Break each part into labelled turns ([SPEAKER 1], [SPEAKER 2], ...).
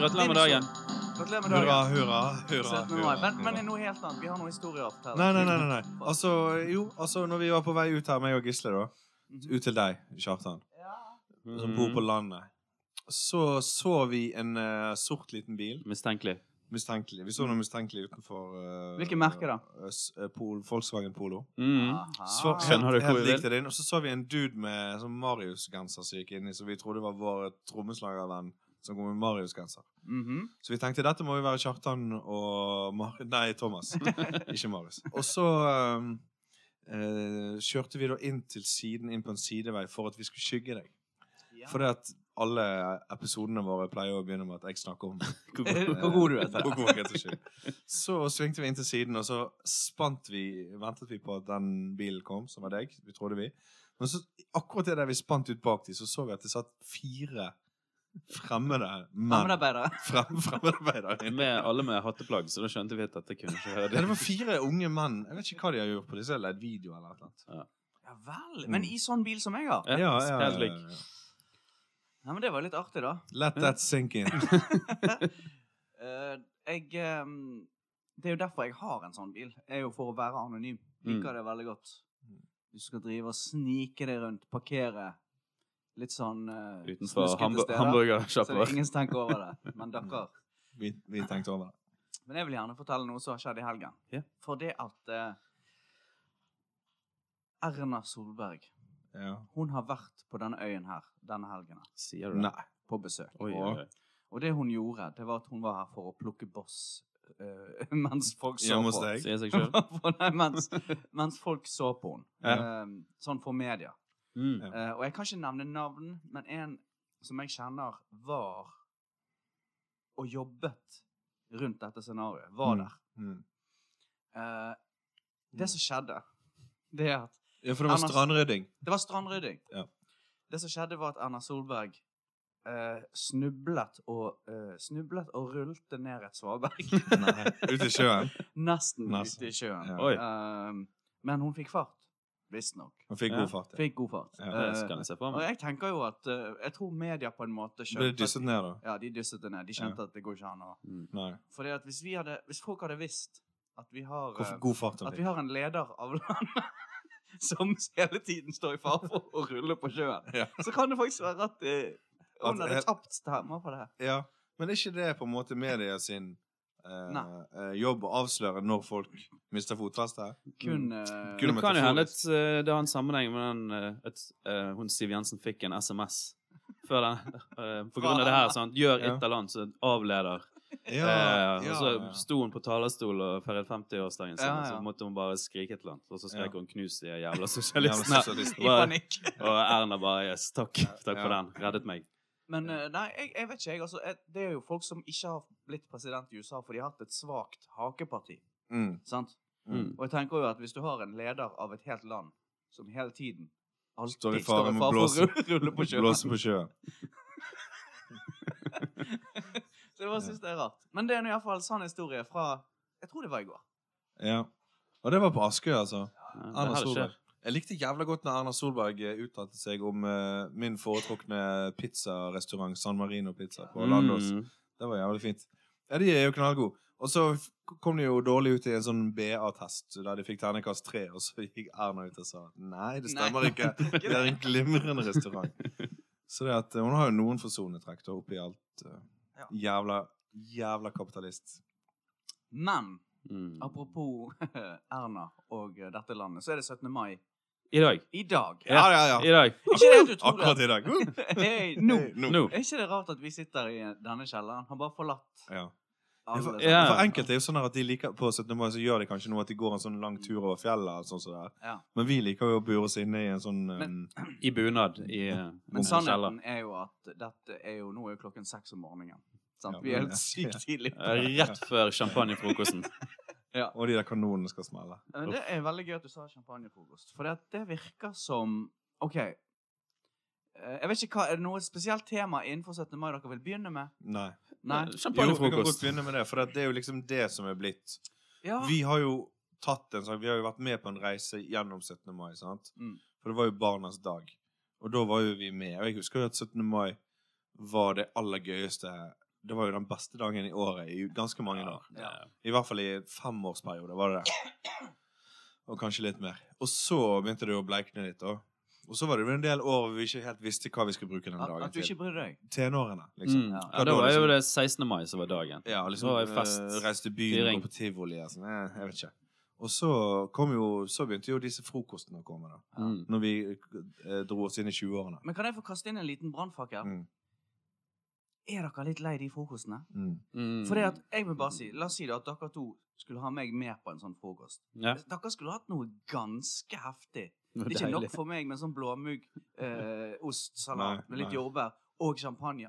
[SPEAKER 1] Gratulerer med dagen.
[SPEAKER 2] Gratulerer med
[SPEAKER 3] Hurra,
[SPEAKER 2] dagen.
[SPEAKER 3] hurra, hurra.
[SPEAKER 2] 17. mai.
[SPEAKER 3] hurra,
[SPEAKER 2] Men, men det
[SPEAKER 3] hurra.
[SPEAKER 2] er noe helt annet. Vi har noen historier å fortelle.
[SPEAKER 3] Nei, nei, nei. nei, nei. Altså, jo, altså, når vi var på vei ut her, meg og Gisle, da.
[SPEAKER 2] Mhm.
[SPEAKER 3] Ut til deg, Kjartan,
[SPEAKER 1] Mm.
[SPEAKER 3] som bor på landet. Så så vi en eh, sort liten bil.
[SPEAKER 1] Mistenkelig.
[SPEAKER 3] Mistenkelig. Vi så noe mistenkelig utenfor uh,
[SPEAKER 2] Hvilke merker da?
[SPEAKER 3] eh,
[SPEAKER 2] Ah.
[SPEAKER 3] Pol, Volkswagen Polo.
[SPEAKER 1] Mm.
[SPEAKER 2] Aha.
[SPEAKER 3] Så,
[SPEAKER 1] Skjønner du
[SPEAKER 3] helt,
[SPEAKER 1] hvor
[SPEAKER 3] helt
[SPEAKER 1] vi vil?
[SPEAKER 3] lik til din. Og så så vi en dude med sånn Marius-genser som gikk inni, som vi trodde var vår trommeslagervenn som kom med Marius-genser.
[SPEAKER 2] Mhm.
[SPEAKER 3] Så vi tenkte dette må jo være Kjartan og Mar Nei, Thomas. Ikke Marius. Og så um, eh, kjørte vi da inn til siden, inn på en sidevei, for at vi skulle skygge deg.
[SPEAKER 2] Ja.
[SPEAKER 3] Fordi at alle episodene våre pleier å begynne med at jeg snakker om
[SPEAKER 2] Hvor god du er til
[SPEAKER 3] Hvor god jeg er til å skyte. Så svingte vi inn til siden, og så spant vi, ventet vi på at den bilen kom, som var deg. Vi trodde vi. Men så, akkurat det der vi spant ut bak de, så så vi at det satt fire fremmede menn.
[SPEAKER 2] Fremmedarbeidere.
[SPEAKER 3] Frem, fremmedarbeidere inne.
[SPEAKER 1] Med alle med hatteplagg, så da skjønte vi at dette kunne ikke høre
[SPEAKER 3] Ja, det var fire unge menn. Jeg vet ikke hva de har gjort på disse. Eller et video eller et eller annet.
[SPEAKER 2] Ja vel. Men i sånn bil som jeg har.
[SPEAKER 1] Ja, helt lik.
[SPEAKER 3] ja.
[SPEAKER 2] Ja, men Det var litt artig, da.
[SPEAKER 3] Let that sink in.
[SPEAKER 2] Eh, jeg eh, Det er jo derfor jeg har en sånn bil. Er jo for å være anonym. Liker det veldig godt. Du skal drive og snike deg rundt, parkere litt sånn uh,
[SPEAKER 1] Utenfor hambu hamburgersjappa
[SPEAKER 2] Så det er ingen som tenker over det. Men dere
[SPEAKER 3] Vi, vi tenkte over det.
[SPEAKER 2] Men jeg vil gjerne fortelle noe som har skjedd i helgen.
[SPEAKER 1] Ja.
[SPEAKER 2] For det at eh, Erna Solberg
[SPEAKER 3] Ja.
[SPEAKER 2] Hun har vært på denne øyen her denne helgen. her,
[SPEAKER 1] Sier du det?
[SPEAKER 3] Nei.
[SPEAKER 2] På besøk.
[SPEAKER 1] Oi, oi, oi.
[SPEAKER 2] Og det hun gjorde, det var at hun var her for å plukke boss eh, mens folk så
[SPEAKER 3] Hjemme
[SPEAKER 2] på.
[SPEAKER 3] hos deg.
[SPEAKER 1] Sier seg sjøl.
[SPEAKER 2] For nei, mens, mens folk så på henne.
[SPEAKER 3] Ja.
[SPEAKER 2] Eh, sånn for media.
[SPEAKER 1] Mm.
[SPEAKER 3] Ja.
[SPEAKER 2] Eh, og jeg kan ikke nevne navn, men en som jeg kjenner var og jobbet rundt dette scenarioet, var
[SPEAKER 3] Mm.
[SPEAKER 2] der.
[SPEAKER 3] Mm.
[SPEAKER 2] Eh, det som skjedde, det er at
[SPEAKER 3] Ja, for det var
[SPEAKER 2] Anders-
[SPEAKER 3] strandrydding.
[SPEAKER 2] Det var strandrydding.
[SPEAKER 3] Ja.
[SPEAKER 2] Det som skjedde, var at Erna Solberg eh, snublet, og, eh, snublet og rullet ned et svaberg.
[SPEAKER 3] Nei. Ute i sjøen.
[SPEAKER 2] Nesten
[SPEAKER 3] Nesten.
[SPEAKER 2] ute i sjøen.
[SPEAKER 3] Ja.
[SPEAKER 1] Oi.
[SPEAKER 2] Eh, men hun fikk fart, visstnok.
[SPEAKER 3] Han fikk
[SPEAKER 1] Ja.
[SPEAKER 3] god fart. ja.
[SPEAKER 2] Fikk god fart.
[SPEAKER 3] Ja,
[SPEAKER 1] Det
[SPEAKER 2] Eh,
[SPEAKER 1] skal jeg se for
[SPEAKER 2] og
[SPEAKER 1] meg.
[SPEAKER 2] jeg tenker jo at eh, Jeg tror media på en måte
[SPEAKER 3] Ble
[SPEAKER 2] skjønte at-
[SPEAKER 3] dysset ned, da?
[SPEAKER 2] Ja, de dysset det ned. De skjønte at det går ikke an å
[SPEAKER 1] Mm.
[SPEAKER 3] Nei.
[SPEAKER 2] Fordi at hvis, vi hadde, hvis folk hadde visst at vi har eh,
[SPEAKER 3] Hvorfor god fart han
[SPEAKER 2] At vi
[SPEAKER 3] fikk?
[SPEAKER 2] har en leder av landet som hele tiden står i fare for å rulle på sjøen.
[SPEAKER 3] Ja.
[SPEAKER 2] Så kan det faktisk være at eh,
[SPEAKER 3] At
[SPEAKER 2] hun hadde
[SPEAKER 3] helt-
[SPEAKER 2] tapt stemmer på det.
[SPEAKER 3] Ja. Men er ikke det på en måte media sin eh,
[SPEAKER 2] Nei.
[SPEAKER 3] eh, jobb å avsløre når folk mister fotfeste?
[SPEAKER 2] Kun
[SPEAKER 1] Mm.
[SPEAKER 2] eh,
[SPEAKER 3] Kun-
[SPEAKER 1] Det kan jo hende at
[SPEAKER 3] metaforisk.
[SPEAKER 1] eh, det har en sammenheng med den, eh, at eh, hun Siv Jensen fikk en SMS før den. eh, på grunn av det her. Sant? Gjør
[SPEAKER 3] Ja.
[SPEAKER 1] et eller annet, så avleder.
[SPEAKER 3] Ja,
[SPEAKER 1] eh,
[SPEAKER 3] ja,
[SPEAKER 1] og så
[SPEAKER 3] ja.
[SPEAKER 1] sto hun på talerstol og feiret 50-årsdagen sin,
[SPEAKER 2] Ja,
[SPEAKER 1] og
[SPEAKER 2] ja.
[SPEAKER 1] så måtte hun bare skrike et eller annet. Og så skrek
[SPEAKER 3] Ja.
[SPEAKER 1] hun 'knus de jævla
[SPEAKER 3] Jævla
[SPEAKER 1] sosialistene'.
[SPEAKER 3] sosialist.
[SPEAKER 2] i panikk.
[SPEAKER 1] og Erna bare 'yes, takk, takk for
[SPEAKER 3] Ja.
[SPEAKER 1] den. Reddet meg'.
[SPEAKER 2] Men eh, nei, jeg, jeg vet ikke, jeg. Altså, jeg, det er jo folk som ikke har blitt president i USA, for de har hatt et svakt hakeparti.
[SPEAKER 3] Mm.
[SPEAKER 2] Sant?
[SPEAKER 3] Mm.
[SPEAKER 2] Og jeg tenker jo at hvis du har en leder av et helt land som hele tiden alltid
[SPEAKER 3] Står
[SPEAKER 2] står
[SPEAKER 3] i
[SPEAKER 2] i
[SPEAKER 3] fare
[SPEAKER 2] fare
[SPEAKER 3] med
[SPEAKER 2] for å
[SPEAKER 3] blåse-
[SPEAKER 2] rulle- rulle på sjøen
[SPEAKER 3] Blåse på sjøen.
[SPEAKER 2] Så jeg bare synes det er rart. Men det er nå i hvert fall sann historie fra Jeg tror det var i går.
[SPEAKER 3] Ja. Og det var på Askøy, altså.
[SPEAKER 1] Ja, det
[SPEAKER 3] Erna
[SPEAKER 1] her skjer.
[SPEAKER 3] Solberg. Jeg likte jævla godt når Erna Solberg eh, uttalte seg om eh, min foretrukne pizzarestaurant, San Marino Pizza, på Landås.
[SPEAKER 1] Mm.
[SPEAKER 3] Det var jævlig fint. Ja, de er jo knallgode. Og så f- kom de jo dårlig ut i en sånn BA-test, der de fikk terningkast tre, og så gikk Erna ut og sa nei, det stemmer
[SPEAKER 2] Nei.
[SPEAKER 3] ikke. Det er en glimrende restaurant. Så det at eh, hun har jo noen forsonetrekk da, oppi alt. eh, Jævla, jævla kapitalist.
[SPEAKER 2] Men
[SPEAKER 1] Mm.
[SPEAKER 2] apropos Erna og eh, dette landet, så er det 17. mai
[SPEAKER 1] I dag.
[SPEAKER 2] i dag.
[SPEAKER 1] Ja,
[SPEAKER 3] ja, ja.
[SPEAKER 1] I dag.
[SPEAKER 2] Ikke det du tror
[SPEAKER 3] Akkurat i dag. Uh,
[SPEAKER 2] Hey, nå.
[SPEAKER 3] hey, nå.
[SPEAKER 1] Nå.
[SPEAKER 2] Er ikke det rart at vi sitter i denne kjelleren? Har bare forlatt
[SPEAKER 3] Ja.
[SPEAKER 2] alle
[SPEAKER 3] For,
[SPEAKER 1] Ja.
[SPEAKER 3] for enkelte er jo sånn her at de liker på 17. mai så gjør de kanskje noe at de går en sånn lang tur over fjellet. og Sånn som det er.
[SPEAKER 2] Ja.
[SPEAKER 3] Men vi liker jo å bure oss inne i en sånn
[SPEAKER 2] Men-
[SPEAKER 3] um,
[SPEAKER 1] I bunad. I eh, kjeller.
[SPEAKER 2] Men sannheten er jo at dette er jo Nå er jo klokken seks om morgenen. Sant?
[SPEAKER 3] Ja,
[SPEAKER 2] vi er
[SPEAKER 3] men-
[SPEAKER 2] helt sykt tidlig.
[SPEAKER 1] Eh, Rett før champagnefrokosten.
[SPEAKER 3] Og de der kanonene skal smelle.
[SPEAKER 2] Men det er veldig gøy at du sa champagnefrokost. For det, at det virker som OK. eh, Jeg vet ikke hva, Er det noe spesielt tema innenfor 17. mai dere vil begynne med?
[SPEAKER 3] Nei.
[SPEAKER 2] Nei?
[SPEAKER 3] Jo, vi kan godt
[SPEAKER 1] Champagnefrokost.
[SPEAKER 3] begynne med det, for det er jo liksom det som er blitt.
[SPEAKER 2] Ja.
[SPEAKER 3] Vi har jo tatt en sak, vi har jo vært med på en reise gjennom 17. mai, sant?
[SPEAKER 2] Mm.
[SPEAKER 3] For det var jo barnas dag. Og da var jo vi med. Og jeg husker jo at 17. mai var det aller gøyeste det var jo den beste dagen i året i ganske mange år.
[SPEAKER 2] Ja.
[SPEAKER 3] I hvert fall i femårsperioder var det det. Og kanskje litt mer. Og så begynte det å bleikne litt. da. Og så var det jo en del år hvor vi ikke helt visste hva vi skulle bruke den
[SPEAKER 2] At,
[SPEAKER 3] dagen
[SPEAKER 2] at du
[SPEAKER 3] til.
[SPEAKER 2] ikke brydde deg.
[SPEAKER 3] Tenårene, liksom.
[SPEAKER 1] Mm.
[SPEAKER 2] Ja.
[SPEAKER 1] Ja, da var jo det 16. mai som var dagen.
[SPEAKER 3] Ja, liksom
[SPEAKER 1] Det var jo fest,
[SPEAKER 3] eh, reiste til byen,
[SPEAKER 1] fyring.
[SPEAKER 3] gå på tivoli og sånn. eh, Jeg vet ikke. Og så kom jo, så begynte jo disse frokostene å komme, da.
[SPEAKER 1] Mm.
[SPEAKER 3] Når vi eh, dro oss inn i 20-årene.
[SPEAKER 2] Men kan jeg få kaste inn en liten brannfakkel?
[SPEAKER 3] Mm.
[SPEAKER 2] Er dere litt lei de frokostene?
[SPEAKER 3] Mm.
[SPEAKER 1] Mm.
[SPEAKER 2] For det at, jeg vil bare si, la oss si det at dere to skulle ha meg med på en sånn frokost.
[SPEAKER 1] ja.
[SPEAKER 2] Dere skulle hatt noe ganske heftig.
[SPEAKER 1] Det var
[SPEAKER 2] Det er ikke nok
[SPEAKER 1] deilig.
[SPEAKER 2] for meg med sånn blåmugg, eh, ostsalat
[SPEAKER 3] Nei,
[SPEAKER 2] med litt
[SPEAKER 3] nei.
[SPEAKER 2] jordbær og champagne,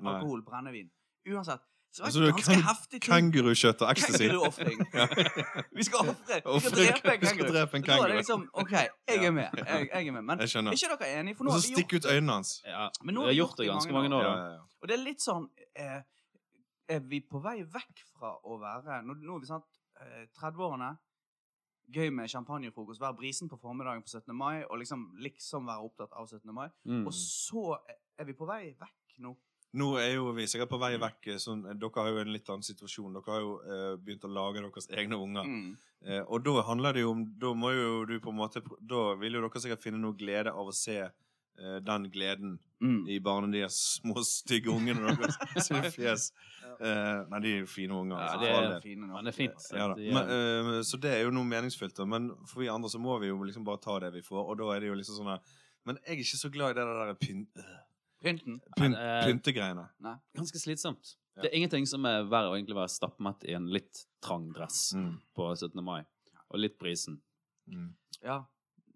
[SPEAKER 3] Nei.
[SPEAKER 2] alkohol, brennevin. Uansett. Så det
[SPEAKER 3] Altså, du
[SPEAKER 2] var en ganske
[SPEAKER 3] kan-
[SPEAKER 2] heftig ting.
[SPEAKER 3] Kenguruskjøtt og ecstasy.
[SPEAKER 2] Kenguruofring. Vi skal ofre. Vi skal
[SPEAKER 3] Ofre-
[SPEAKER 2] drepe en
[SPEAKER 3] vi skal
[SPEAKER 2] kenguru.
[SPEAKER 3] drepe en
[SPEAKER 2] Da er det
[SPEAKER 3] kenguru.
[SPEAKER 2] liksom OK, jeg
[SPEAKER 3] Ja.
[SPEAKER 2] er med. Jeg, jeg er med. Men
[SPEAKER 3] Jeg
[SPEAKER 2] er
[SPEAKER 3] skjønner.
[SPEAKER 2] ikke dere enige? For
[SPEAKER 3] Og så
[SPEAKER 2] nå har vi gjort
[SPEAKER 3] stikke ut øynene hans.
[SPEAKER 1] Ja.
[SPEAKER 2] Men
[SPEAKER 1] Men
[SPEAKER 2] nå
[SPEAKER 1] nå
[SPEAKER 2] har
[SPEAKER 1] har
[SPEAKER 2] vi
[SPEAKER 1] jeg gjort det i ganske mange
[SPEAKER 3] Ja,
[SPEAKER 1] år. da.
[SPEAKER 3] ja, ja.
[SPEAKER 2] Og det er litt sånn eh, Er vi på vei vekk fra å være Nå, nå er vi sant eh, 30-årene. Gøy med champagnefrokost, være brisen på formiddagen på 17. mai og liksom, liksom være opptatt av 17. mai.
[SPEAKER 1] Mm.
[SPEAKER 2] Og så eh, er vi på vei vekk nå.
[SPEAKER 3] Nå er jo vi sikkert på vei vekk. eh, Sånn, eh, dere har jo en litt annen situasjon. Dere har jo eh, begynt å lage deres egne unger.
[SPEAKER 2] Mm.
[SPEAKER 3] Eh, og da handler det jo om Da må jo du på en måte pr- Da vil jo dere sikkert finne noe glede av å se eh, den gleden
[SPEAKER 2] Mm.
[SPEAKER 3] i barna deres små, stygge ungene deres
[SPEAKER 1] Mm.
[SPEAKER 3] sine fjes. Eh, nei, de er jo fine unger.
[SPEAKER 1] Ja,
[SPEAKER 3] altså,
[SPEAKER 1] det
[SPEAKER 3] for all
[SPEAKER 1] er-
[SPEAKER 3] del.
[SPEAKER 2] fine eh, nå.
[SPEAKER 1] Men det er fint.
[SPEAKER 3] Ja, da.
[SPEAKER 1] at de-
[SPEAKER 3] men, eh, så det er jo noe meningsfylt. da, Men for vi andre så må vi jo liksom bare ta det vi får. Og da er det jo liksom sånn her Men jeg er ikke så glad i det der pyn, eh,
[SPEAKER 2] Pynten.
[SPEAKER 3] pyn,
[SPEAKER 1] eh,
[SPEAKER 3] pyntegreiene.
[SPEAKER 1] ganske slitsomt.
[SPEAKER 3] Ja.
[SPEAKER 1] Det er ingenting som er verre å egentlig være stappmett i en litt trang dress
[SPEAKER 3] Mm.
[SPEAKER 1] på 17. mai. Og litt brisen.
[SPEAKER 3] Mm.
[SPEAKER 2] Ja,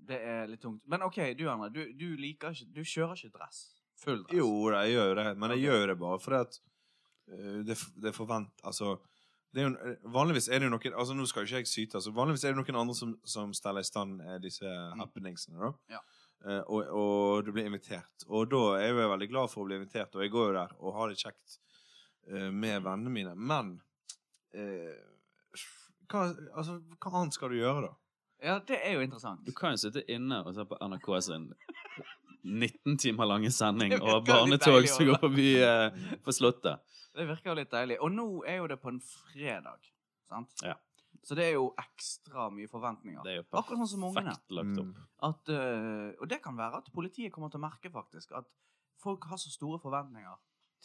[SPEAKER 2] det er litt tungt. Men OK, du André, du, du liker ikke Du kjører ikke dress. Full dress.
[SPEAKER 3] Jo da, jeg gjør jo det. Men jeg
[SPEAKER 2] Ok.
[SPEAKER 3] gjør jo det bare fordi at eh, det, f- det forvent... Altså det er jo, en- eh, vanligvis er det jo noen Altså Nå skal jo ikke jeg syte, altså, vanligvis er det noen andre som, som steller i stand eh, disse happeningsene. da
[SPEAKER 2] Mm. Ja.
[SPEAKER 3] Eh, og, og du blir invitert. Og da er jo jeg veldig glad for å bli invitert, og jeg går jo der og har det kjekt eh, med vennene mine. Men eh, hva, altså, hva annet skal du gjøre, da?
[SPEAKER 2] Ja, det er jo interessant.
[SPEAKER 1] Du kan jo sitte inne og se på NRK sin 19 timer lange sending
[SPEAKER 2] Det
[SPEAKER 1] og
[SPEAKER 2] virker litt
[SPEAKER 1] barnetog
[SPEAKER 2] deilig
[SPEAKER 1] som går forbi eh, på Slottet.
[SPEAKER 2] Det virker jo litt deilig. Og nå er jo det på en fredag, sant?
[SPEAKER 1] Ja.
[SPEAKER 2] Så det er jo ekstra mye forventninger.
[SPEAKER 1] Det er jo
[SPEAKER 2] Akkurat sånn som ungene.
[SPEAKER 1] perfekt lagt opp.
[SPEAKER 3] Mm.
[SPEAKER 2] At, eh, og det kan være at politiet kommer til å merke faktisk at folk har så store forventninger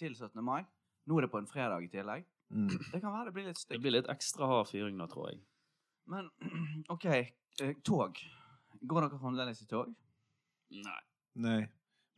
[SPEAKER 2] til 17. mai. Nå er det på en fredag i tillegg.
[SPEAKER 3] Mm.
[SPEAKER 2] Det kan være det blir litt
[SPEAKER 1] Det
[SPEAKER 2] stygt.
[SPEAKER 1] blir litt ekstra hard fyring nå, tror jeg.
[SPEAKER 2] Men OK, eh, tog. Går dere fremdeles i tog?
[SPEAKER 1] Nei.
[SPEAKER 3] Nei.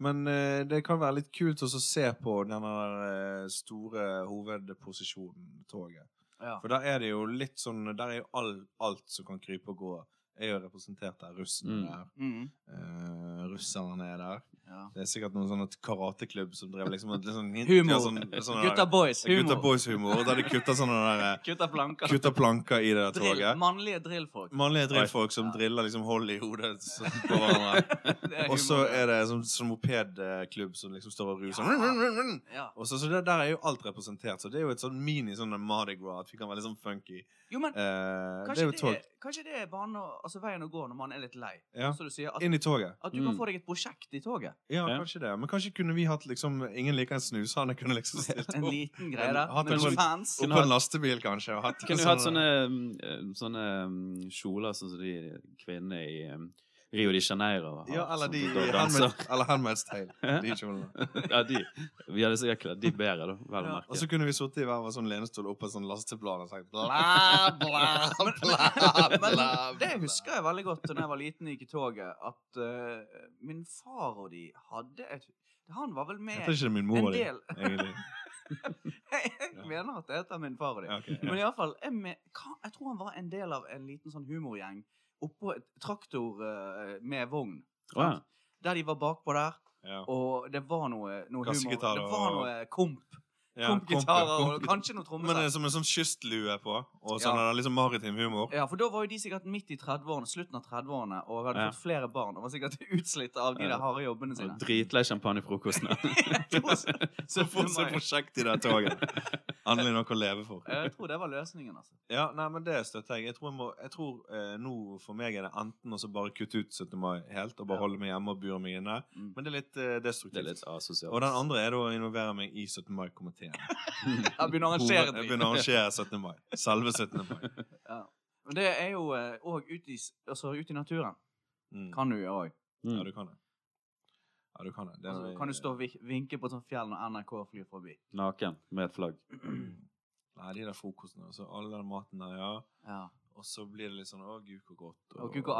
[SPEAKER 3] Men eh, det kan være litt kult også å se på denne eh, store hovedposisjonen toget.
[SPEAKER 2] Ja.
[SPEAKER 3] For der er det jo litt sånn Der er jo all, alt som kan krype og gå, er jo representert der. Russen
[SPEAKER 1] Mm.
[SPEAKER 3] er der.
[SPEAKER 2] Mm.
[SPEAKER 3] eh, russerne er der.
[SPEAKER 2] ja.
[SPEAKER 3] Det er sikkert noen sånne karateklubb som drev liksom litt sånn
[SPEAKER 2] Humor.
[SPEAKER 3] ja, sånn- sånn der-
[SPEAKER 2] Gutta boys. Humor.
[SPEAKER 3] Gutta boys-humor. Og der de kutta sånne der eh,
[SPEAKER 2] Gutta planker.
[SPEAKER 3] Kutta planker i det der
[SPEAKER 2] Drill,
[SPEAKER 3] toget.
[SPEAKER 2] mannlige drillfolk.
[SPEAKER 3] Mannlige drillfolk som
[SPEAKER 2] Ja.
[SPEAKER 3] driller liksom hold i hodet sånn på hverandre. Og så er det som, som mopedklubb som liksom står og ruser.
[SPEAKER 2] Ja.
[SPEAKER 3] Run, run, run, run.
[SPEAKER 2] ja.
[SPEAKER 3] Og så, så det, Der er jo alt representert, så det er jo et sånn mini sånn Mardi Gras. At vi kan være litt sånn funky.
[SPEAKER 2] Jo, men
[SPEAKER 3] Eh, det
[SPEAKER 2] Kanskje
[SPEAKER 3] er jo
[SPEAKER 2] det,
[SPEAKER 3] tog.
[SPEAKER 2] er, kanskje det er banen, å- altså veien å gå når man er litt lei.
[SPEAKER 3] Ja.
[SPEAKER 2] Så du sier at,
[SPEAKER 3] Inn i toget.
[SPEAKER 2] at du kan
[SPEAKER 1] Mm.
[SPEAKER 2] få deg et prosjekt i toget.
[SPEAKER 3] Ja,
[SPEAKER 1] Ja.
[SPEAKER 3] kanskje det. Men kanskje kunne vi hatt liksom Ingen liker en snushane. Kunne liksom stilt
[SPEAKER 2] En
[SPEAKER 3] opp
[SPEAKER 2] liten greie
[SPEAKER 3] Men
[SPEAKER 2] der.
[SPEAKER 3] hatt
[SPEAKER 2] Med
[SPEAKER 3] en
[SPEAKER 2] noen
[SPEAKER 3] sånn-
[SPEAKER 2] fans.
[SPEAKER 3] oppå en lastebil, kanskje. Og hatt, sånn
[SPEAKER 1] Kunne du hatt sånne, mm, sånne mm, kjoler sånn som de kvinnene i mm, Rio de Janeiro har?
[SPEAKER 3] Ja, eller
[SPEAKER 1] som
[SPEAKER 3] de
[SPEAKER 2] Sånn
[SPEAKER 1] da
[SPEAKER 3] i
[SPEAKER 1] danser.
[SPEAKER 3] Handmaid's- eller Handmaid's Tale. De kjolene.
[SPEAKER 1] ja, de. Vi hadde sikkert kledd de bedre, da. Vel å
[SPEAKER 2] Ja,
[SPEAKER 1] merke.
[SPEAKER 3] Og så kunne vi sittet i hver vår sånn lenestol oppå en sånn lasteblad og sagt bla, bla, bla, bla,
[SPEAKER 2] Men
[SPEAKER 3] bla.
[SPEAKER 2] det husker jeg veldig godt da jeg var liten og gikk i toget, at eh, min far og de hadde et Han var vel
[SPEAKER 3] Jeg
[SPEAKER 2] med
[SPEAKER 3] tror ikke det er min
[SPEAKER 2] en
[SPEAKER 3] mor,
[SPEAKER 2] del
[SPEAKER 3] egentlig.
[SPEAKER 2] Jeg mener at det heter min far og de.
[SPEAKER 3] Ja, ok, ja.
[SPEAKER 2] Men iallfall jeg, me- hva- jeg tror han var en del av en liten sånn humorgjeng oppå et traktor eh, med vogn.
[SPEAKER 1] Å, ja.
[SPEAKER 2] Der de var bakpå der.
[SPEAKER 3] Ja.
[SPEAKER 2] Og det var noe, noe humor.
[SPEAKER 3] Gassgitarer
[SPEAKER 2] Det var
[SPEAKER 3] og-
[SPEAKER 2] noe komp.
[SPEAKER 3] Ja,
[SPEAKER 2] Kompgitarer
[SPEAKER 3] komp-
[SPEAKER 2] og
[SPEAKER 3] komp-
[SPEAKER 2] kanskje noe
[SPEAKER 3] Men det er
[SPEAKER 2] trommesett.
[SPEAKER 3] som en sånn kystlue på, og
[SPEAKER 2] Ja.
[SPEAKER 3] sånn er det liksom maritim humor.
[SPEAKER 2] Ja, for da var jo de sikkert midt i 30-årene, slutten av 30-årene, og hadde
[SPEAKER 1] Ja.
[SPEAKER 2] fått flere barn. Og var sikkert utslitt av de
[SPEAKER 1] Ja.
[SPEAKER 2] der harde jobbene sine.
[SPEAKER 1] Dritlei champagnefrokostene.
[SPEAKER 2] Jeg tror-
[SPEAKER 3] Så får se
[SPEAKER 2] 17. mai.
[SPEAKER 3] prosjekt i det toget. Endelig noe å leve for.
[SPEAKER 2] Jeg tror det var løsningen, altså.
[SPEAKER 3] Ja, nei, men det støtter jeg. Jeg tror, jeg må, jeg tror eh, nå for meg er det enten å så bare kutte ut 17. mai helt og bare
[SPEAKER 2] Ja.
[SPEAKER 3] holde meg hjemme og bure meg inne.
[SPEAKER 2] Mm.
[SPEAKER 3] Men det er litt eh, destruktivt.
[SPEAKER 1] Det er litt asosialt.
[SPEAKER 3] Og den andre er da å involvere meg i 17. mai-komiteen.
[SPEAKER 2] Jeg begynner å arrangere
[SPEAKER 3] Jeg
[SPEAKER 2] ting.
[SPEAKER 3] begynner å arrangere 17. mai. Selve 17. mai.
[SPEAKER 2] Men det er jo òg ute, i s- altså, ute i naturen.
[SPEAKER 3] Mm.
[SPEAKER 2] Kan du gjøre òg.
[SPEAKER 1] Mm.
[SPEAKER 3] Ja, du kan det. Ja, du kan det. det er-
[SPEAKER 2] Altså, kan du stå og vi- vinke på et sånt fjell når NRK flyr forbi?
[SPEAKER 1] Naken med et flagg.
[SPEAKER 3] Nei, de der frokostene og så all den maten der, ja.
[SPEAKER 2] Ja.
[SPEAKER 3] Og så blir det litt sånn Å, gud, hvor godt.
[SPEAKER 2] Å, gud, hvor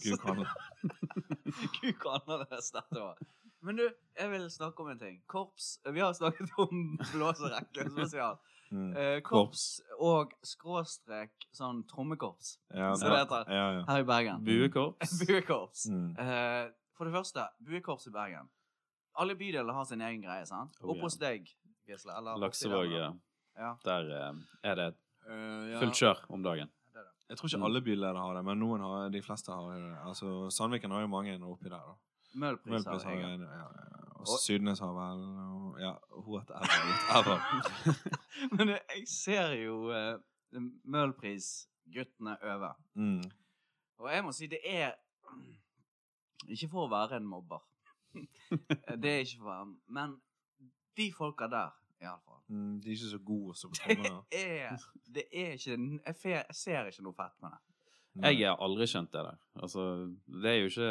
[SPEAKER 3] Å, gud, hvor annerledes.
[SPEAKER 2] Gud, hvor annerledes dette var. Men du, jeg vil snakke om en ting. Korps Vi har snakket om blåserekke spesial.
[SPEAKER 3] Mm.
[SPEAKER 2] Eh, korps og skråstrek sånn trommekorps
[SPEAKER 3] Ja,
[SPEAKER 2] Så
[SPEAKER 3] bra.
[SPEAKER 2] det heter-
[SPEAKER 3] ja, ja.
[SPEAKER 2] her i Bergen.
[SPEAKER 1] Buekorps.
[SPEAKER 2] Buekorps.
[SPEAKER 3] Mm.
[SPEAKER 2] Eh, for det første, buekorps i Bergen. Alle bydeler har sin egen greie, sant?
[SPEAKER 1] Oh,
[SPEAKER 2] Oppe hos deg, Gisle. eller oppe i
[SPEAKER 1] Laksevåg.
[SPEAKER 2] den,
[SPEAKER 1] ja.
[SPEAKER 2] Ja.
[SPEAKER 1] Der eh, er det
[SPEAKER 3] Eh, ja.
[SPEAKER 1] fullt kjør om dagen.
[SPEAKER 2] det er det.
[SPEAKER 3] Jeg tror ikke
[SPEAKER 1] Mm.
[SPEAKER 3] alle byledere har det, men noen har, de fleste har det. Altså, Sandviken har jo mange oppi der. da.
[SPEAKER 2] Møhlpris
[SPEAKER 3] Møhlplass
[SPEAKER 2] har
[SPEAKER 3] har
[SPEAKER 2] jeg.
[SPEAKER 3] en, ja, ja. Og
[SPEAKER 2] Og-
[SPEAKER 3] Sydnes har vel og, Ja, whatever. whatever.
[SPEAKER 2] Men jeg- jeg ser jo uh, Møhlpris-guttene øve.
[SPEAKER 3] Mm.
[SPEAKER 2] Og jeg må si, det er Ikke for å være en mobber. det er ikke for å være Men de folka der, iallfall
[SPEAKER 3] Mm, de er ikke så gode som trommene.
[SPEAKER 2] er, Det er ikke jeg, fe, jeg ser ikke noe fett med det.
[SPEAKER 1] Jeg har aldri skjønt det der. Altså, det er jo ikke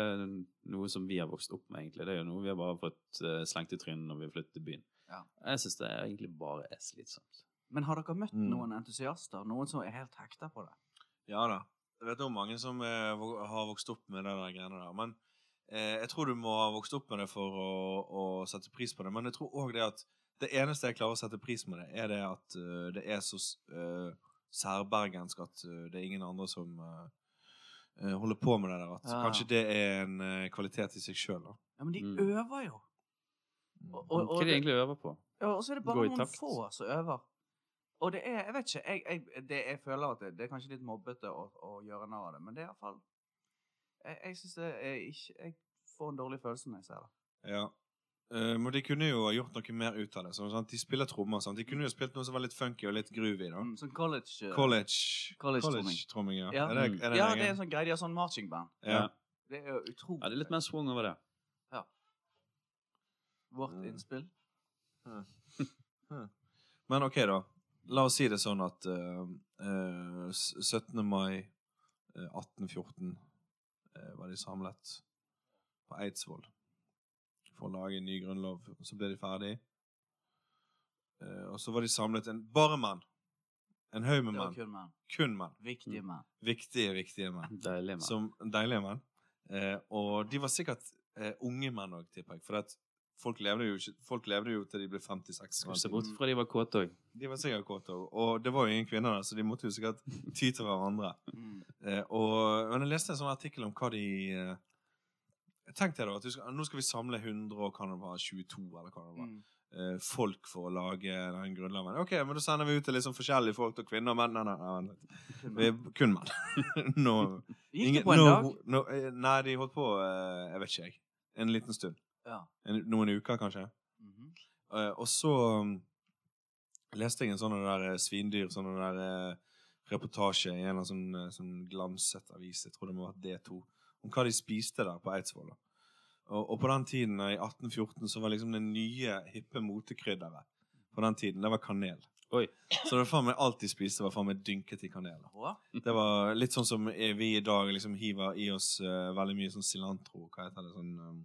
[SPEAKER 1] noe som vi har vokst opp med, egentlig. Det er jo noe vi har bare fått eh, slengt i trynet når vi flyttet til byen.
[SPEAKER 2] Ja.
[SPEAKER 1] Jeg syns det er egentlig bare er slitsomt.
[SPEAKER 2] Men har dere møtt
[SPEAKER 3] Mm.
[SPEAKER 2] noen entusiaster? Noen som er helt hekta på det?
[SPEAKER 3] Ja da. Jeg vet om mange som eh, vok- har vokst opp med det der greiene der. Men eh, jeg tror du må ha vokst opp med det for å, å sette pris på det. Men jeg tror òg det at det eneste jeg klarer å sette pris med det, er det at eh, det er så s- eh, særbergensk at eh, det er ingen andre som eh, eh, holder på med det der. At
[SPEAKER 2] Ja.
[SPEAKER 3] kanskje det er en eh, kvalitet i seg sjøl, da.
[SPEAKER 2] Ja, men de
[SPEAKER 1] Mm.
[SPEAKER 2] øver jo. Og, og,
[SPEAKER 1] Hva
[SPEAKER 2] og,
[SPEAKER 1] er det
[SPEAKER 2] det,
[SPEAKER 1] egentlig vi øver på?
[SPEAKER 2] ja, og så er det
[SPEAKER 1] Gå
[SPEAKER 2] bare
[SPEAKER 1] i
[SPEAKER 2] noen
[SPEAKER 1] takt.
[SPEAKER 2] få som øver. Og det er Jeg vet ikke. Jeg, jeg, det, jeg føler at det, det er kanskje litt mobbete å, å gjøre narr av det, men det er iallfall Jeg, jeg syns det er ikke Jeg får en dårlig følelse når jeg ser det.
[SPEAKER 3] Ja. Eh, men de kunne jo ha gjort noe mer ut av det. Sånn, sant? De spiller trommer. Sant? De kunne jo spilt noe som var litt funky og litt groovy. Da.
[SPEAKER 2] Mm, sånn college eh,
[SPEAKER 3] College
[SPEAKER 2] College-tromming.
[SPEAKER 3] College-tromming, ja.
[SPEAKER 2] Ja.
[SPEAKER 3] Er det, er det
[SPEAKER 2] Ja,
[SPEAKER 3] en
[SPEAKER 2] det er
[SPEAKER 3] egen?
[SPEAKER 2] en sånn greie. De har sånn marchingband.
[SPEAKER 3] Ja.
[SPEAKER 2] Det er jo utrolig.
[SPEAKER 1] Ja, det er litt mer swung over det.
[SPEAKER 2] Vårt
[SPEAKER 3] Mm.
[SPEAKER 2] innspill.
[SPEAKER 3] Men ok, da. La oss si det sånn at eh, eh, s- 17. mai eh, 1814 eh, var de samlet på Eidsvoll for å lage en ny grunnlov. Og så ble de ferdig. Eh, og så var de samlet en bare menn. En haug med
[SPEAKER 2] Det var
[SPEAKER 3] menn.
[SPEAKER 2] kun menn.
[SPEAKER 3] Kun menn.
[SPEAKER 1] Mm.
[SPEAKER 2] Viktige menn.
[SPEAKER 3] Viktige, viktige menn.
[SPEAKER 1] Deilig, mann.
[SPEAKER 3] Som deilige menn. Eh, og de var sikkert eh, unge menn òg, tipper jeg. For at folk, levde jo ikke, folk levde jo til de ble 56.
[SPEAKER 1] Skal ikke se bort fra de var kåte òg.
[SPEAKER 3] De var sikkert kåte òg. Og det var jo ingen kvinner der, så de måtte jo sikkert ty til hverandre.
[SPEAKER 2] Mm.
[SPEAKER 3] Eh, og, men jeg leste en sånn artikkel om hva de eh, Tenk deg da at du skal, nå skal vi samle 100 og kan det være 22 eller hva det var,
[SPEAKER 2] Mm.
[SPEAKER 3] eh, folk for å lage den grunnloven. Ok, men da sender vi ut til liksom forskjellige folk til kvinner og menn. Nei, nei, nei, vent litt. Vi
[SPEAKER 2] Kun menn.
[SPEAKER 3] er kun menn. nå
[SPEAKER 2] Gikk
[SPEAKER 3] Ingen-
[SPEAKER 2] det på en
[SPEAKER 3] nå-
[SPEAKER 2] dag?
[SPEAKER 3] nå- eh, nei, de holdt på eh, Jeg vet ikke, jeg. En liten stund.
[SPEAKER 2] Ja.
[SPEAKER 3] En, noen uker, kanskje.
[SPEAKER 2] Mhm.
[SPEAKER 3] Eh, og så mm, leste jeg en sånn der eh, svindyr sånn der eh, reportasje i en eller annen sånn, eh, sånn glanset avis, jeg tror det må ha vært D2, om hva de spiste der på Eidsvoll. da. Og, og på den tiden, eh, i 1814, så var liksom det nye, hippe motekrydderet på den tiden, det var kanel.
[SPEAKER 1] Oi.
[SPEAKER 3] Så det var faen meg alt de spiste, var faen meg dynket i kanel. da.
[SPEAKER 2] Hå?
[SPEAKER 3] Det var litt sånn som eh, vi i dag liksom hiver i oss eh, veldig mye sånn cilantro, hva heter det, sånn eh,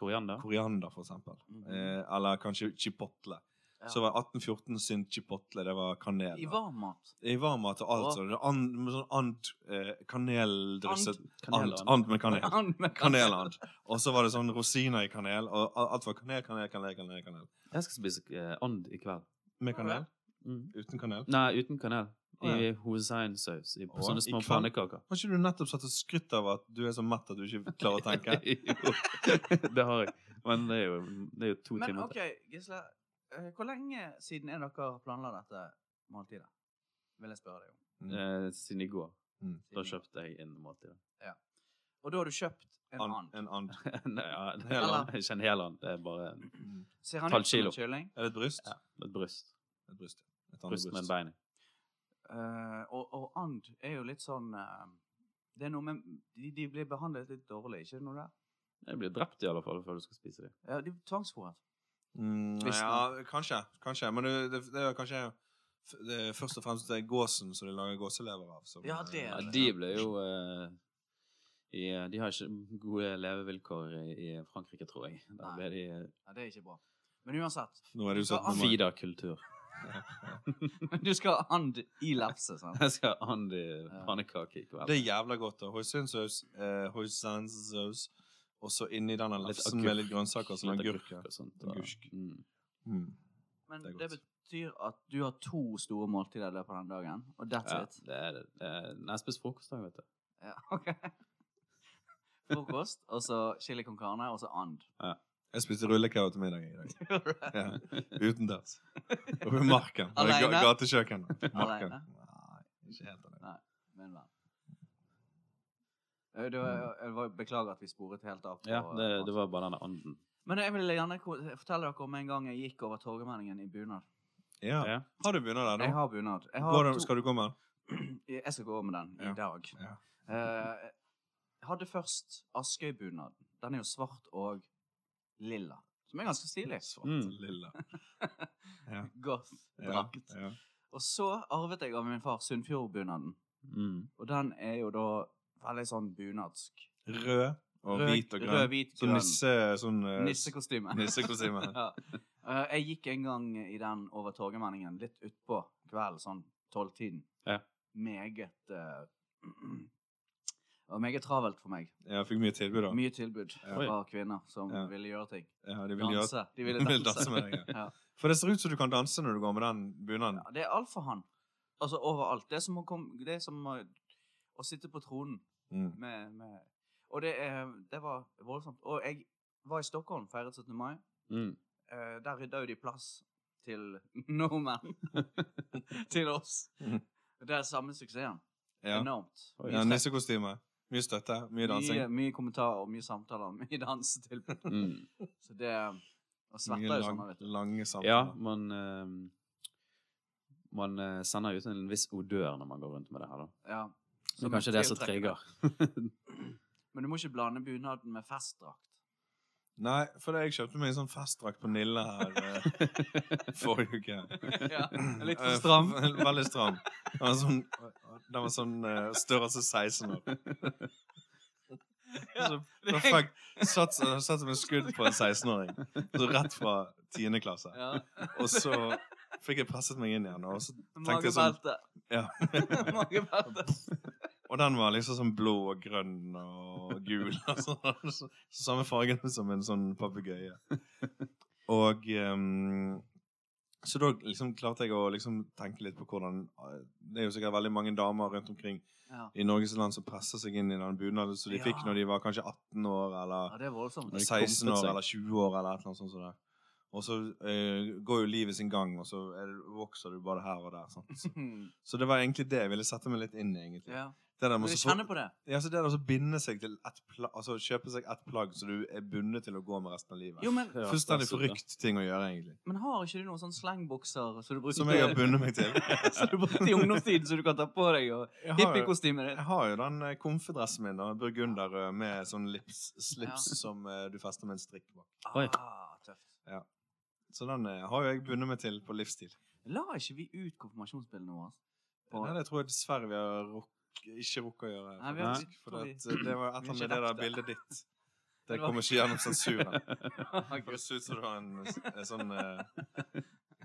[SPEAKER 1] Koriander.
[SPEAKER 3] koriander for eksempel.
[SPEAKER 2] Mhm.
[SPEAKER 3] Eh, eller kanskje chipotle.
[SPEAKER 2] Ja.
[SPEAKER 3] Så var 1814 sin chipotle, det var kanel.
[SPEAKER 2] I
[SPEAKER 3] da.
[SPEAKER 2] varmmat.
[SPEAKER 3] I varmmat og alt
[SPEAKER 2] Åh.
[SPEAKER 3] sånn. And, med sånn and, eh, kaneldrysset. And,
[SPEAKER 1] Kaneler.
[SPEAKER 3] and med kanel.
[SPEAKER 2] Han med
[SPEAKER 3] Kaneland. Og så var det sånn rosiner i kanel, og a- alt var kanel, kanel, kanel, kanel, kanel.
[SPEAKER 1] Jeg skal spise eh, and i kveld.
[SPEAKER 3] Med
[SPEAKER 2] Var det?
[SPEAKER 3] kanel?
[SPEAKER 1] Mm.
[SPEAKER 3] Uten kanel?
[SPEAKER 1] Nei, uten kanel.
[SPEAKER 3] Å, ja.
[SPEAKER 1] I hovedsaus. I
[SPEAKER 3] Å,
[SPEAKER 1] sånne
[SPEAKER 3] i
[SPEAKER 1] små
[SPEAKER 3] kveld?
[SPEAKER 1] pannekaker.
[SPEAKER 3] Har ikke du nettopp satt og skrytt av at du er så mett at du ikke klarer å tenke?
[SPEAKER 1] Jo, det har jeg. Men det er jo, det er jo to
[SPEAKER 2] Men
[SPEAKER 1] timer
[SPEAKER 2] OK, Gisle. eh, Hvor lenge siden er dere planla dette måltidet? Vil jeg spørre deg om.
[SPEAKER 1] til. Eh, siden i går.
[SPEAKER 3] Mm.
[SPEAKER 1] Da kjøpte jeg inn måltidet.
[SPEAKER 2] Og da har du kjøpt en
[SPEAKER 3] An-
[SPEAKER 2] and.
[SPEAKER 3] En and.
[SPEAKER 1] Nei, ja, det
[SPEAKER 3] Hel
[SPEAKER 1] er
[SPEAKER 2] and.
[SPEAKER 1] ikke en hel and. Det er bare en-
[SPEAKER 2] Ser han
[SPEAKER 1] Halv
[SPEAKER 2] ut som
[SPEAKER 1] kilo.
[SPEAKER 2] en kylling?
[SPEAKER 3] Er det Mm. et bryst?
[SPEAKER 1] ja, et bryst.
[SPEAKER 3] Et bryst. Et annet
[SPEAKER 1] Bryst, men beinet.
[SPEAKER 2] Eh, og, og and er jo litt sånn eh, Det er noe med de, de blir behandlet litt dårlig, ikke det noe der?
[SPEAKER 1] De blir drept i alle fall før du skal spise dem.
[SPEAKER 2] Ja, de blir tvangsfôret.
[SPEAKER 3] Mm,
[SPEAKER 2] Visst
[SPEAKER 3] ja, kanskje. kanskje. Men det, det, det er kanskje f- det er først og fremst det er gåsen som de lager gåselever av. Som,
[SPEAKER 2] Ja, det er
[SPEAKER 1] Ja,
[SPEAKER 3] eh,
[SPEAKER 2] det.
[SPEAKER 1] de ble jo eh, i, eh, De har ikke gode levevilkår i, i Frankrike, tror jeg. Der
[SPEAKER 2] Nei.
[SPEAKER 1] ble de eh,
[SPEAKER 2] Ja, det er ikke bra. Men uansett,
[SPEAKER 3] Nå er det jo
[SPEAKER 2] Så
[SPEAKER 3] sånn at man må-
[SPEAKER 1] Fida-kultur.
[SPEAKER 2] du skal ha and i lefse, sant?
[SPEAKER 1] Jeg skal ha and i pannekake i kveld.
[SPEAKER 3] Det er jævla godt. da. Hoisinsaus, eh, hoisinsaus, og så inni denne lefsen
[SPEAKER 1] agurk,
[SPEAKER 3] Altså, med litt grønnsaker som
[SPEAKER 1] litt
[SPEAKER 3] agurk. ja.
[SPEAKER 1] og sånt. og-
[SPEAKER 3] Agurk.
[SPEAKER 1] Mm.
[SPEAKER 3] Mm.
[SPEAKER 2] Men
[SPEAKER 3] Det er
[SPEAKER 2] det,
[SPEAKER 3] godt.
[SPEAKER 2] betyr at du har to store måltider i løpet av den dagen, og that's
[SPEAKER 1] Ja,
[SPEAKER 2] it.
[SPEAKER 1] det er det. det. er- Nei, jeg spiser frokost, da, vet du.
[SPEAKER 2] Ja, ok. Frokost, og så chili con carne, og så and.
[SPEAKER 3] Jeg spiste rullekau til middag i dag.
[SPEAKER 2] Gjorde
[SPEAKER 3] Ja. Utendørs. Oppe i marken. På det ga-
[SPEAKER 2] Alene?
[SPEAKER 3] Gatekjøkkenet. Marken.
[SPEAKER 2] Alene?
[SPEAKER 3] Nei, ikke helt alene.
[SPEAKER 2] Min venn. Eh, Det var,
[SPEAKER 3] Mm.
[SPEAKER 2] jeg var- beklager at vi sporet helt av. på-
[SPEAKER 1] Ja, det, det var bare denne anden.
[SPEAKER 2] Men jeg vil gjerne ko- fortelle dere om en gang jeg gikk over Torgallmenningen i bunad.
[SPEAKER 3] Ja.
[SPEAKER 1] Ja.
[SPEAKER 3] Har du bunad der
[SPEAKER 2] Jeg
[SPEAKER 3] nå?
[SPEAKER 2] har bunad. Jeg, har
[SPEAKER 3] Går
[SPEAKER 2] to-
[SPEAKER 3] det- Skal du gå med den?
[SPEAKER 2] jeg skal gå med den
[SPEAKER 3] Ja.
[SPEAKER 2] i dag.
[SPEAKER 3] Ja.
[SPEAKER 2] Eh, jeg hadde først Askøy-bunaden. Den er jo svart og lilla, som er ganske stilig.
[SPEAKER 1] Mm.
[SPEAKER 3] Lilla. Ja. Ja.
[SPEAKER 2] Goth-drakt.
[SPEAKER 3] ja.
[SPEAKER 2] Og så arvet jeg av min far Sunnfjord-bunaden.
[SPEAKER 1] Mm.
[SPEAKER 2] Og den er jo da veldig sånn bunadsk.
[SPEAKER 3] Rød og
[SPEAKER 2] Rød-
[SPEAKER 3] hvit og grønn.
[SPEAKER 2] Rød, hvit,
[SPEAKER 3] Sånn
[SPEAKER 2] grønn.
[SPEAKER 3] nisse, sånn eh,
[SPEAKER 2] Nissekostyme.
[SPEAKER 3] nissekostyme.
[SPEAKER 2] ja. Eh, jeg gikk en gang i den over Torgallmenningen, litt utpå kvelden, sånn tolvtiden.
[SPEAKER 1] Ja.
[SPEAKER 2] Meget eh, Det var meget travelt for meg.
[SPEAKER 3] Jeg fikk mye tilbud, da.
[SPEAKER 2] Mye tilbud
[SPEAKER 3] Ja.
[SPEAKER 2] fra kvinner som
[SPEAKER 3] Ja.
[SPEAKER 2] ville gjøre ting.
[SPEAKER 3] Ja, de ville gjøre-
[SPEAKER 2] Danse. De ville
[SPEAKER 3] de ville
[SPEAKER 2] danse.
[SPEAKER 3] danse med deg. Ja.
[SPEAKER 2] Ja.
[SPEAKER 3] For det ser ut som du kan danse når du går med den bunaden.
[SPEAKER 2] Ja, det er alfahann. Altså overalt. Det er som å, kom, det er som å, å sitte på tronen
[SPEAKER 3] Mm.
[SPEAKER 2] med, med Og det, er, det var voldsomt. Og jeg var i Stockholm, feiret 17. mai.
[SPEAKER 1] Mm.
[SPEAKER 2] Eh, der rydda jo de plass til nordmenn. til oss.
[SPEAKER 3] Mhm.
[SPEAKER 2] Det er samme suksessen.
[SPEAKER 3] Ja.
[SPEAKER 2] Enormt.
[SPEAKER 1] Oi.
[SPEAKER 3] ja
[SPEAKER 2] støtte.
[SPEAKER 3] nissekostyme. Mye støtte, mye dansing.
[SPEAKER 2] mye, mye kommentarer, mye samtaler, mye dansetilbud.
[SPEAKER 1] Mm.
[SPEAKER 2] Så det Og
[SPEAKER 3] Mye
[SPEAKER 2] svetter jo sånn,
[SPEAKER 3] lang-
[SPEAKER 2] vet du.
[SPEAKER 3] lange
[SPEAKER 1] Ja,
[SPEAKER 3] samtaler.
[SPEAKER 1] man eh, Man eh, sender ut en viss odør når man går rundt med det her, da.
[SPEAKER 2] Ja.
[SPEAKER 1] Så
[SPEAKER 2] Som
[SPEAKER 1] kanskje det er som
[SPEAKER 2] tiltrekker.
[SPEAKER 1] trigger.
[SPEAKER 2] Men du må ikke blande bunaden med festdrakt.
[SPEAKER 3] Nei, for det, jeg kjøpte meg en sånn festdrakt på Nille her eh, forrige uke.
[SPEAKER 2] ja, litt
[SPEAKER 3] Eh,
[SPEAKER 2] for stram.
[SPEAKER 3] Veldig stram. Den var sånn, den var sånn eh, størrelse 16 år.
[SPEAKER 2] Ja,
[SPEAKER 3] Så
[SPEAKER 2] det er-
[SPEAKER 3] perfekt. Satt, eh, satt som en skudd på en 16-åring. Så rett fra 10. klasse.
[SPEAKER 2] Ja.
[SPEAKER 3] Og så fikk jeg presset meg inn igjen, og, så, Tenkte jeg sånn-
[SPEAKER 2] Magebelte.
[SPEAKER 3] Ja.
[SPEAKER 2] Magebelte.
[SPEAKER 3] og den var liksom sånn blå og grønn og gul. Og sånn. så, så samme fargen som en sånn papegøye. Og ehm, så da liksom klarte jeg å liksom tenke litt på hvordan eh, Det er jo sikkert veldig mange damer rundt omkring
[SPEAKER 2] Ja.
[SPEAKER 3] i Norges land som presser seg inn i den bunaden som de
[SPEAKER 2] Ja.
[SPEAKER 3] fikk når de var kanskje 18 år,
[SPEAKER 2] ja,
[SPEAKER 3] eller
[SPEAKER 2] det er voldsomt.
[SPEAKER 1] de
[SPEAKER 3] 16
[SPEAKER 1] kompet
[SPEAKER 3] år,
[SPEAKER 1] seg.
[SPEAKER 3] eller 20 år, eller et eller annet sånt. som det. Og så eh, går jo livet sin gang, og så er det, vokser du bare her og der. Sant? Så,
[SPEAKER 2] Mhm.
[SPEAKER 3] Så det var egentlig det jeg ville sette meg litt inn i. egentlig.
[SPEAKER 2] Ja.
[SPEAKER 3] Det der
[SPEAKER 2] Men
[SPEAKER 3] med
[SPEAKER 2] du
[SPEAKER 3] å
[SPEAKER 2] kjenner
[SPEAKER 3] få-
[SPEAKER 2] på det?
[SPEAKER 3] ja, så det der å så binde seg til ett plagg, altså kjøpe seg ett plagg så du er bundet til å gå med resten av livet.
[SPEAKER 2] Jo, men,
[SPEAKER 1] Ja,
[SPEAKER 3] Fullstendig
[SPEAKER 1] absolutt, ja.
[SPEAKER 3] forrykt ting å gjøre, egentlig.
[SPEAKER 2] men har ikke du noen sånne slengbukser som du brukte
[SPEAKER 3] Som jeg har bundet meg til.
[SPEAKER 2] som du brukte i ungdomstiden, som du kan ta på deg? og
[SPEAKER 3] Jeg har jo,
[SPEAKER 2] Hippiekostymet ditt?
[SPEAKER 3] jeg har jo den eh, komfedressen min, da, burgunderrød, med sånn lips, slips
[SPEAKER 2] Ja.
[SPEAKER 3] som eh, du fester med en strikk bak.
[SPEAKER 1] Oi.
[SPEAKER 2] Ah, tøft.
[SPEAKER 3] Så den eh, har jo jeg bundet meg til på livsstil.
[SPEAKER 2] La ikke vi ut konfirmasjonsbildene våre? På-
[SPEAKER 3] Nei, det tror jeg dessverre vi har rukk- ikke rukket å gjøre.
[SPEAKER 2] Nei, vi har-
[SPEAKER 3] faktisk, for
[SPEAKER 2] tror vi-
[SPEAKER 3] at, eh, det var et eller
[SPEAKER 2] vi
[SPEAKER 3] annet
[SPEAKER 2] har
[SPEAKER 3] med det
[SPEAKER 2] ikke
[SPEAKER 3] der bildet ditt. Det
[SPEAKER 2] Det var-
[SPEAKER 3] kommer ikke gjennom sensuren.
[SPEAKER 2] Ah,
[SPEAKER 3] Det
[SPEAKER 2] gud.
[SPEAKER 3] ser ut som du har en, en sånn eh,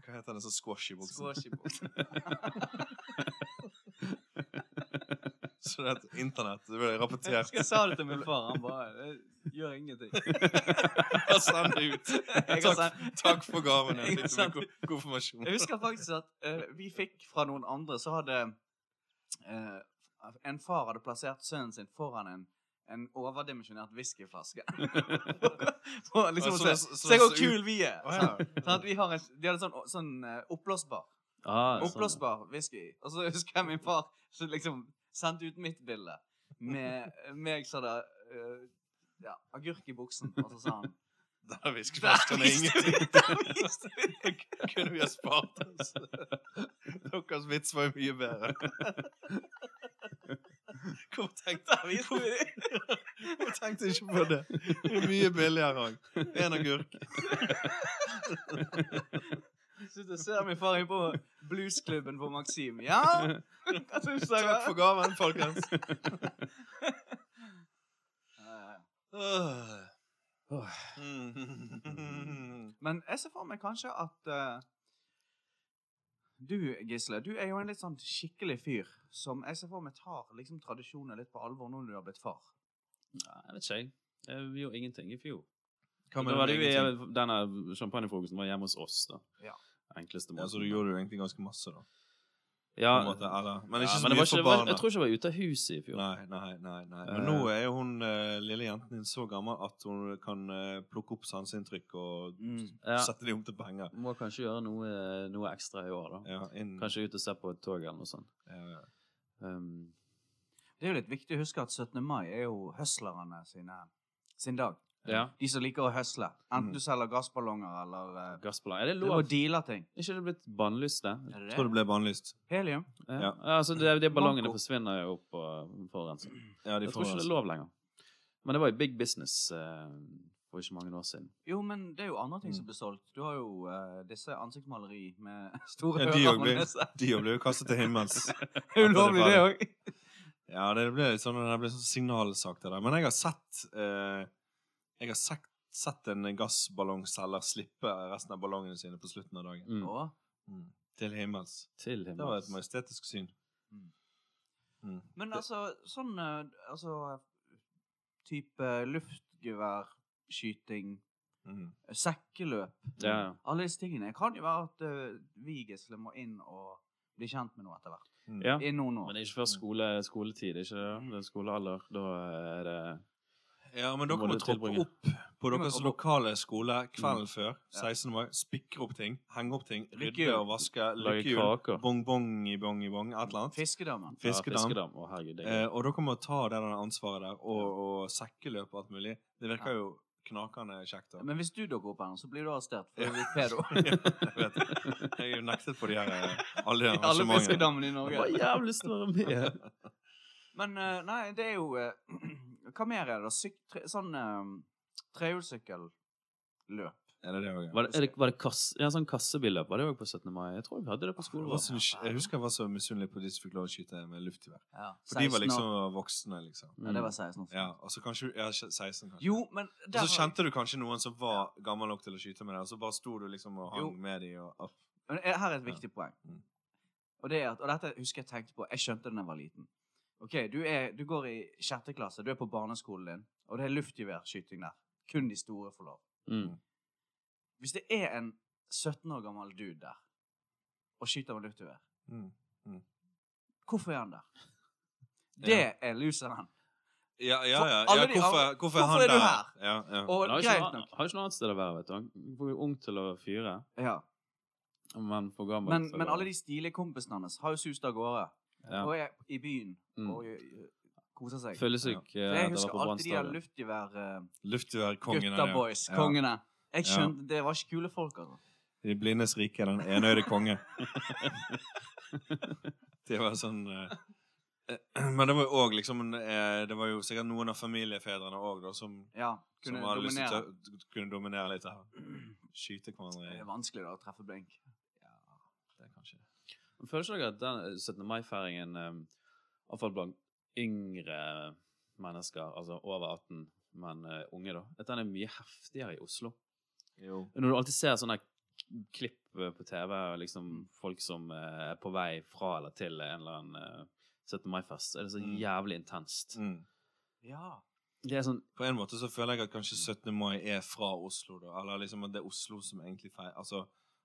[SPEAKER 3] Hva heter det? Sånn squash i buksen.
[SPEAKER 2] Squash i buksen.
[SPEAKER 3] Så det er et internett. Det ble
[SPEAKER 2] Jeg
[SPEAKER 3] rapportert.
[SPEAKER 2] husker jeg sa det til min far. Han bare "Det gjør ingenting.
[SPEAKER 3] Og sendt ut.
[SPEAKER 2] Jeg, har
[SPEAKER 3] Takk,
[SPEAKER 2] sånn- sendt-
[SPEAKER 3] takk for gaven. Jeg
[SPEAKER 2] Jeg har
[SPEAKER 3] fikk
[SPEAKER 2] sendt-
[SPEAKER 3] med ko- konfirmasjon.
[SPEAKER 2] jeg husker faktisk at eh, vi fikk fra noen andre, så hadde eh, En far hadde plassert sønnen sin foran en, en overdimensjonert whiskyflaske. For liksom å
[SPEAKER 3] Og så-
[SPEAKER 2] se
[SPEAKER 3] så- så-
[SPEAKER 2] Se hvor
[SPEAKER 3] så-
[SPEAKER 2] kul vi er!
[SPEAKER 3] Å, ja.
[SPEAKER 2] Sånn at vi har en, de hadde sånn, sånn eh, oppblåsbar
[SPEAKER 1] Ah, sånn.
[SPEAKER 2] oppblåsbar whisky. Og så husker jeg min far som liksom sendte ut mitt bilde med meg som hadde eh, ja, agurk i buksen. Og så sa han
[SPEAKER 3] Der hviskeflasken er ingenting.
[SPEAKER 2] Der viste vi det.
[SPEAKER 3] Det kunne vi ha spart oss. Deres vits var jo mye bedre. Hvorfor tenkte
[SPEAKER 2] Der viste vi det.
[SPEAKER 3] jeg tenkte jeg ikke på det? Det er mye billigere òg. En agurk.
[SPEAKER 2] Sitter og ser min far inn på bluesklubben på Maxim. Ja, hva syns dere?
[SPEAKER 3] Takk for gaven, folkens.
[SPEAKER 2] Eh,
[SPEAKER 3] Åh. Mm.
[SPEAKER 2] Men jeg ser for meg kanskje at eh, Du, Gisle, du er jo en litt sånn skikkelig fyr som jeg ser for meg tar liksom tradisjoner litt på alvor når du har blitt far.
[SPEAKER 1] Nei, jeg vet ikke, jeg. Jeg gjorde ingenting i fjor.
[SPEAKER 3] Hva
[SPEAKER 1] Da
[SPEAKER 3] mener
[SPEAKER 1] var
[SPEAKER 3] du
[SPEAKER 1] det jo
[SPEAKER 3] egentlig?
[SPEAKER 1] i- Denne champagnefrokosten var hjemme hos oss, da.
[SPEAKER 2] Ja.
[SPEAKER 1] Enkleste måten.
[SPEAKER 3] Ja, så du gjorde jo egentlig ganske masse, da. På
[SPEAKER 1] Ja,
[SPEAKER 3] en måte, eller, men ikke
[SPEAKER 1] ja,
[SPEAKER 3] så
[SPEAKER 1] men det
[SPEAKER 3] mye
[SPEAKER 1] var ikke-
[SPEAKER 3] for
[SPEAKER 1] det var-
[SPEAKER 3] barna.
[SPEAKER 1] Jeg tror ikke jeg var ute av huset i fjor.
[SPEAKER 3] Nei, nei, nei. nei. Men nå er jo hun eh, lille jenten din så gammel at hun kan eh, plukke opp sanseinntrykk og
[SPEAKER 1] Ja.
[SPEAKER 3] sette de om til penger.
[SPEAKER 1] Må kanskje gjøre noe, eh, noe ekstra i år, da.
[SPEAKER 3] Ja, inn. eh,
[SPEAKER 1] Kanskje ut og se på et tog eller noe sånt.
[SPEAKER 3] Ja, ja.
[SPEAKER 1] Um,
[SPEAKER 2] Det er jo litt viktig å huske at 17. mai er jo høslerne sine, sin dag.
[SPEAKER 1] ja.
[SPEAKER 2] De som liker å høsle.
[SPEAKER 3] Mm.
[SPEAKER 2] Enten du selger gassballonger eller eh,
[SPEAKER 1] Gassboller. Er det
[SPEAKER 2] du må
[SPEAKER 1] lov?
[SPEAKER 2] deale ting.
[SPEAKER 1] Er ikke det blitt bannlyst, det?
[SPEAKER 2] Er
[SPEAKER 3] Jeg tror det ble bannlyst.
[SPEAKER 2] Helium?
[SPEAKER 1] Ja.
[SPEAKER 3] Ja.
[SPEAKER 1] Altså, de, de ballongene
[SPEAKER 2] Manko.
[SPEAKER 1] forsvinner jo opp og forurenser.
[SPEAKER 3] Ja, de
[SPEAKER 1] Jeg tror ikke det er lov lenger. Men det var jo big business eh, for ikke mange år siden.
[SPEAKER 2] Jo, men det er jo andre ting
[SPEAKER 3] Mm.
[SPEAKER 2] som blir solgt. Du har jo eh, disse ansiktsmaleri med store
[SPEAKER 3] Ja, de
[SPEAKER 2] ører
[SPEAKER 3] òg
[SPEAKER 2] og
[SPEAKER 3] blir-
[SPEAKER 2] nese.
[SPEAKER 3] De jo ble jo kastet til himmels.
[SPEAKER 2] Det er ulovlig, det òg.
[SPEAKER 3] Ja, det ble litt sånn, det ble sånn signalsak det der. Men jeg har sett eh, Jeg har sett, sett en gassballongselger slippe resten av ballongene sine på slutten av dagen.
[SPEAKER 1] Mm.
[SPEAKER 2] Å,
[SPEAKER 3] Mm. Til himmels.
[SPEAKER 1] Til
[SPEAKER 3] Det var et
[SPEAKER 1] himmels.
[SPEAKER 3] majestetisk syn.
[SPEAKER 2] Mm.
[SPEAKER 3] Mm.
[SPEAKER 2] Men
[SPEAKER 3] Det-
[SPEAKER 2] altså, sånn eh, Altså type luftgeværskyting,
[SPEAKER 3] Mm.
[SPEAKER 2] sekkeløp
[SPEAKER 1] Ja, ja.
[SPEAKER 2] Alle disse tingene. Det kan jo være at eh, vi, Gisle, må inn og bli kjent med noe etter hvert.
[SPEAKER 3] Mm.
[SPEAKER 1] Ja.
[SPEAKER 2] I noen
[SPEAKER 1] Men
[SPEAKER 2] år.
[SPEAKER 1] det er ikke før skole, skoletid, ikke det? Det er skolealder. Da er det
[SPEAKER 3] Ja, men dere
[SPEAKER 1] Må
[SPEAKER 3] må
[SPEAKER 1] du
[SPEAKER 3] troppe
[SPEAKER 1] tilbringe.
[SPEAKER 3] opp på
[SPEAKER 2] må
[SPEAKER 3] deres
[SPEAKER 2] troppe opp.
[SPEAKER 3] lokale skole kvelden før.
[SPEAKER 2] Ja.
[SPEAKER 3] 16. mai. Spikre opp ting, henge opp ting, rydde
[SPEAKER 2] Lykkehjul.
[SPEAKER 3] og vaske.
[SPEAKER 1] Lage
[SPEAKER 3] Lykkehjul.
[SPEAKER 1] kaker.
[SPEAKER 3] Bong-bong-i-bong-i-bong. Et eller annet.
[SPEAKER 2] Fiskedammen.
[SPEAKER 1] Ja,
[SPEAKER 3] Fiskedam.
[SPEAKER 1] fiskedam. Å, herregud. Det
[SPEAKER 3] Eh,
[SPEAKER 1] er...
[SPEAKER 3] og dere må ta det der ansvaret der, og, og sekkeløp og alt mulig. Det virker jo knakende kjekt. da.
[SPEAKER 2] Men hvis du dukker opp her, nå, så blir du arrestert
[SPEAKER 3] Ja.
[SPEAKER 2] for å bli pedo.
[SPEAKER 3] jeg vet det. Jeg er jo nektet på de her, eh, alle de
[SPEAKER 2] I
[SPEAKER 3] her
[SPEAKER 2] alle
[SPEAKER 3] arrangementene.
[SPEAKER 2] fiskedammene i
[SPEAKER 1] Jeg har
[SPEAKER 2] Norge.
[SPEAKER 1] jævlig lyst til å være med.
[SPEAKER 2] Men eh, nei, det er jo eh, Hva mer er det? da? Syk, tre, sånn eh, trehjulssykkelløp.
[SPEAKER 3] Er det det også, ja?
[SPEAKER 1] Var det, er det, var det kasse, ja, sånn kassebilløp? Var det òg på 17. mai? Jeg tror vi hadde det på
[SPEAKER 3] Det
[SPEAKER 1] skolen.
[SPEAKER 3] var
[SPEAKER 1] vår.
[SPEAKER 3] så nysg- Jeg husker jeg var så misunnelig på de som fikk lov å skyte med luftgevær.
[SPEAKER 2] Ja,
[SPEAKER 3] For de
[SPEAKER 2] 16 år.
[SPEAKER 3] var liksom voksne, liksom.
[SPEAKER 2] Ja, det var 16 år.
[SPEAKER 3] Ja, og så kanskje ja, 16, kanskje.
[SPEAKER 2] Jo, men
[SPEAKER 3] Og så
[SPEAKER 2] har-
[SPEAKER 3] kjente du kanskje noen som var gammel nok til å skyte med deg, og så bare sto du liksom og hang
[SPEAKER 2] Jo.
[SPEAKER 3] med de og opp.
[SPEAKER 2] Men er- her er et viktig poeng.
[SPEAKER 3] Mm.
[SPEAKER 2] Og, det er at, og dette husker jeg tenkte på. Jeg skjønte det da jeg var liten. Ok, du, er, du går i sjette klasse, du er på barneskolen din, og det er luftgeværskyting der. Kun de store får lov.
[SPEAKER 1] Mm.
[SPEAKER 2] Hvis det er en 17 år gammel dude der og skyter med luftgevær,
[SPEAKER 3] Mm.
[SPEAKER 2] hvorfor er han der?
[SPEAKER 3] Ja.
[SPEAKER 2] Det er loseren.
[SPEAKER 3] Ja, ja,
[SPEAKER 2] For
[SPEAKER 3] ja. ja
[SPEAKER 2] alle de
[SPEAKER 3] hvorfor, hvorfor er
[SPEAKER 2] andre- hvorfor
[SPEAKER 3] han
[SPEAKER 2] er du
[SPEAKER 3] der?
[SPEAKER 2] her?
[SPEAKER 3] Ja, ja.
[SPEAKER 2] Og
[SPEAKER 1] Men Har ikke,
[SPEAKER 2] greit
[SPEAKER 1] noe-
[SPEAKER 2] nok.
[SPEAKER 1] har ikke noe annet sted å være, vet du. Han var jo ung til å fyre,
[SPEAKER 2] Ja.
[SPEAKER 1] men for gammel
[SPEAKER 2] Men,
[SPEAKER 1] til
[SPEAKER 2] men
[SPEAKER 1] å-
[SPEAKER 2] alle de stilige kompisene hans har jo sust av gårde.
[SPEAKER 1] ja.
[SPEAKER 2] Og er i byen
[SPEAKER 1] Mm.
[SPEAKER 2] og eh, koser seg.
[SPEAKER 1] Føler seg ja.
[SPEAKER 2] Så jeg
[SPEAKER 1] det var
[SPEAKER 2] husker
[SPEAKER 1] på
[SPEAKER 2] alltid de her
[SPEAKER 1] Brannstadion.
[SPEAKER 2] luftgevær... eh,
[SPEAKER 3] Luftgeværkongen.
[SPEAKER 2] Gutta boys, kongene. Jeg
[SPEAKER 3] Ja.
[SPEAKER 2] skjønte, Det var ikke kule folk, altså.
[SPEAKER 3] De blindes rike, den enøyde konge. det var sånn eh, eh, Men det var jo òg liksom eh, Det var jo sikkert noen av familiefedrene òg, da, som,
[SPEAKER 2] Ja,
[SPEAKER 3] som
[SPEAKER 2] kunne
[SPEAKER 3] hadde lyst
[SPEAKER 2] dominere.
[SPEAKER 3] til å kunne dominere litt her. Skyte hverandre
[SPEAKER 2] Det
[SPEAKER 3] i
[SPEAKER 2] er vanskelig da å treffe blink.
[SPEAKER 3] det, kanskje.
[SPEAKER 1] Føler ikke dere at den eh, 17. mai-feiringen, eh, iallfall blant yngre mennesker, altså over 18, men eh, unge, da, at den er mye heftigere i Oslo?
[SPEAKER 3] Jo.
[SPEAKER 1] Når du alltid ser sånne k- klipp eh, på TV, og liksom folk som eh, er på vei fra eller til en eller annen eh, 17. mai-fest, er det så
[SPEAKER 3] Mm.
[SPEAKER 1] jævlig intenst.
[SPEAKER 3] Mm.
[SPEAKER 2] Ja.
[SPEAKER 1] Det er sånn
[SPEAKER 3] På en måte så føler jeg at kanskje 17. mai er fra Oslo, da. Eller liksom at det er Oslo som egentlig feirer Altså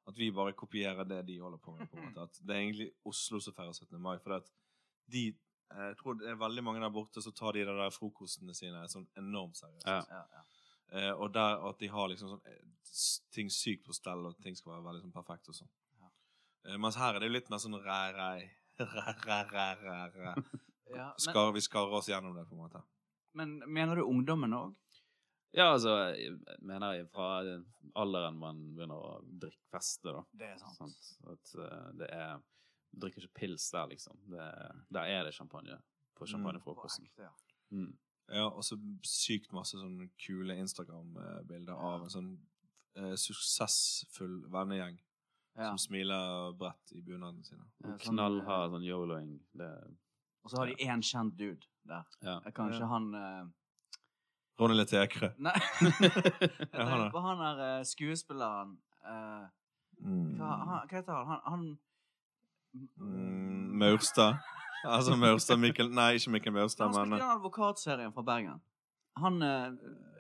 [SPEAKER 3] at vi bare kopierer det de holder på med. på en måte. At det er egentlig Oslo som feirer 17. mai. For at de eh, Jeg tror det er veldig mange der borte som tar de der frokostene sine sånn enormt seriøst.
[SPEAKER 1] Ja.
[SPEAKER 2] ja, ja.
[SPEAKER 3] Eh, og der og at de har liksom sånn eh, s- ting sykt på stell, og ting skal være veldig sånn perfekt og sånn. Eh, mens her er det jo litt mer sånn ræ-ræ. Ræ-ræ-ræ-ræ.
[SPEAKER 2] ja men,
[SPEAKER 3] Skar, vi skarrer oss gjennom det, på en måte.
[SPEAKER 2] men mener du ungdommen òg?
[SPEAKER 1] Ja, altså, jeg mener jeg fra alderen man begynner å drikke feste, da.
[SPEAKER 2] Det er sant.
[SPEAKER 1] Sant? At eh, det er Du drikker ikke pils der, liksom. Det, der er det champagne på
[SPEAKER 3] Mm.
[SPEAKER 2] På
[SPEAKER 1] champagnefrokosten.
[SPEAKER 2] ekte, ja.
[SPEAKER 1] Mm.
[SPEAKER 3] Ja, og så sykt masse sånne kule Instagram-bilder av en sånn eh, suksessfull vennegjeng
[SPEAKER 2] ja.
[SPEAKER 3] som smiler bredt i bunaden sine.
[SPEAKER 2] Ja, sånn,
[SPEAKER 1] Knallhard sånn yoloing. Det
[SPEAKER 2] Og så har de én kjent dude der.
[SPEAKER 1] Ja.
[SPEAKER 2] Jeg kan
[SPEAKER 3] Ja.
[SPEAKER 2] ikke han eh,
[SPEAKER 3] Ronny litt ekre.
[SPEAKER 2] Nei, jeg
[SPEAKER 3] Ja, han
[SPEAKER 2] tenkte
[SPEAKER 3] er.
[SPEAKER 2] på han der eh, skuespilleren eh,
[SPEAKER 3] Mm.
[SPEAKER 2] hva, han, hva heter han? Han,
[SPEAKER 3] Mm,
[SPEAKER 2] han
[SPEAKER 3] Maurstad. Altså Maurstad Mikkel Nei, ikke Mikkel Maurstad,
[SPEAKER 2] Han spilte i
[SPEAKER 3] men
[SPEAKER 2] den advokatserien fra Bergen. Han eh,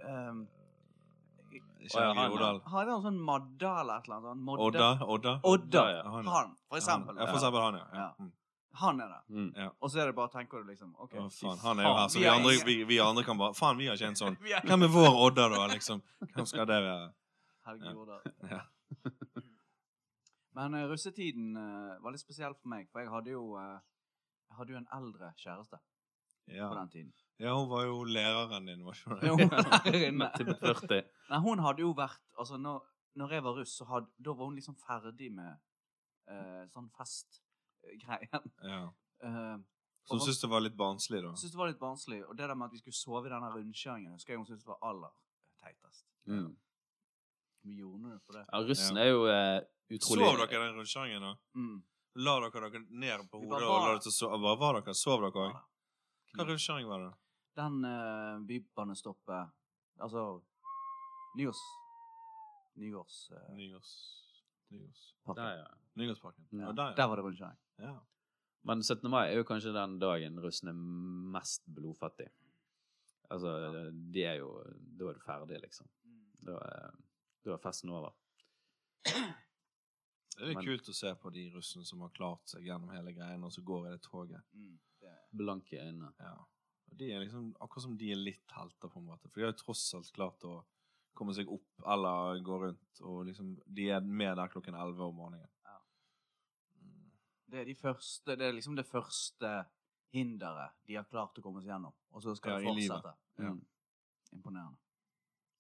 [SPEAKER 2] ehm,
[SPEAKER 3] eh, Ikke
[SPEAKER 1] Å, ja,
[SPEAKER 3] Helge
[SPEAKER 1] han, ja.
[SPEAKER 3] Odal.
[SPEAKER 2] Hadde han sånn Madda eller et eller annet? sånt? Modda?
[SPEAKER 3] Odda? Odda?
[SPEAKER 2] Odda.
[SPEAKER 1] Ja, ja.
[SPEAKER 3] Han, ja.
[SPEAKER 2] Han, for eksempel.
[SPEAKER 3] Ja, for eksempel han, ja. ja.
[SPEAKER 2] Ja.
[SPEAKER 3] Mm.
[SPEAKER 2] Han er det.
[SPEAKER 1] mm.
[SPEAKER 2] Og så er det bare tenker du liksom OK.
[SPEAKER 3] Å, faen, han er jo her, så
[SPEAKER 2] Vi
[SPEAKER 3] vi
[SPEAKER 2] er
[SPEAKER 3] andre,
[SPEAKER 2] ikke-
[SPEAKER 3] vi, vi andre kan bare Faen, vi har ikke en sånn.
[SPEAKER 2] Vi er
[SPEAKER 3] Hvem er vår Odda, da? liksom? Hvem skal det være?
[SPEAKER 2] Helge
[SPEAKER 3] Ja.
[SPEAKER 2] Jordal.
[SPEAKER 3] Ja.
[SPEAKER 2] Men eh, russetiden eh, var litt spesiell for meg, for jeg hadde jo eh, jeg hadde jo en eldre kjæreste
[SPEAKER 3] Ja.
[SPEAKER 2] på den tiden.
[SPEAKER 3] ja, hun var jo læreren din, var ikke hun det?
[SPEAKER 2] Hun var her inne.
[SPEAKER 1] Til 40.
[SPEAKER 2] Nei, hun hadde jo vært Altså, når, når jeg var russ, så hadde, da var hun liksom ferdig med eh, sånn festgreien.
[SPEAKER 3] Ja.
[SPEAKER 2] Eh,
[SPEAKER 3] Så
[SPEAKER 2] Og
[SPEAKER 3] hun
[SPEAKER 2] hva-
[SPEAKER 3] syntes det var litt barnslig, da?
[SPEAKER 2] syntes det var litt barnslig. Og det der med at vi skulle sove i denne rundkjøringen, husker jeg hun syntes var aller teitest.
[SPEAKER 1] Mm.
[SPEAKER 2] Vi gjorde det på det.
[SPEAKER 1] Ja, russen er jo eh, utrolig
[SPEAKER 3] Sov dere i den rundkjøringen, da?
[SPEAKER 2] Mm.
[SPEAKER 3] La dere dere ned på
[SPEAKER 2] Vi
[SPEAKER 3] hodet
[SPEAKER 2] bare
[SPEAKER 3] og
[SPEAKER 2] var
[SPEAKER 3] la
[SPEAKER 2] der.
[SPEAKER 3] dere til å sove? Bare var dere? Sov dere òg?
[SPEAKER 2] Ja,
[SPEAKER 3] Hva rundkjøring var det?
[SPEAKER 2] Den uh, bybanestoppet Altså Nyårs... Nyårs... eh,
[SPEAKER 3] Nygårds... Nygårds...
[SPEAKER 2] parken.
[SPEAKER 1] Der, ja.
[SPEAKER 3] Nygårdsparken.
[SPEAKER 1] Ja.
[SPEAKER 3] Ja, der,
[SPEAKER 2] Der
[SPEAKER 3] ja.
[SPEAKER 2] var det rundkjøring.
[SPEAKER 3] ja.
[SPEAKER 1] Men 17. mai er jo kanskje den dagen russen er mest blodfattig. Altså, de er jo Da er du ferdig, liksom.
[SPEAKER 3] Mm.
[SPEAKER 1] Da er, da er festen over.
[SPEAKER 3] Det er litt
[SPEAKER 1] Men-
[SPEAKER 3] kult å se på de russen som har klart seg gjennom hele greien, og så går i det toget.
[SPEAKER 2] Mm. Det,
[SPEAKER 1] Blanke øyne.
[SPEAKER 3] Ja. Og De er liksom, akkurat som de er litt helter, på en måte. For de har jo tross alt klart å komme seg opp eller gå rundt. Og liksom, de er med der klokken 11 om morgenen. Mm.
[SPEAKER 2] Ja. det er de første Det er liksom det første hinderet de har klart å komme seg gjennom. Og så skal
[SPEAKER 3] Ja,
[SPEAKER 2] de
[SPEAKER 3] i livet.
[SPEAKER 2] fortsette.
[SPEAKER 1] Ja.
[SPEAKER 2] Mm. Imponerende.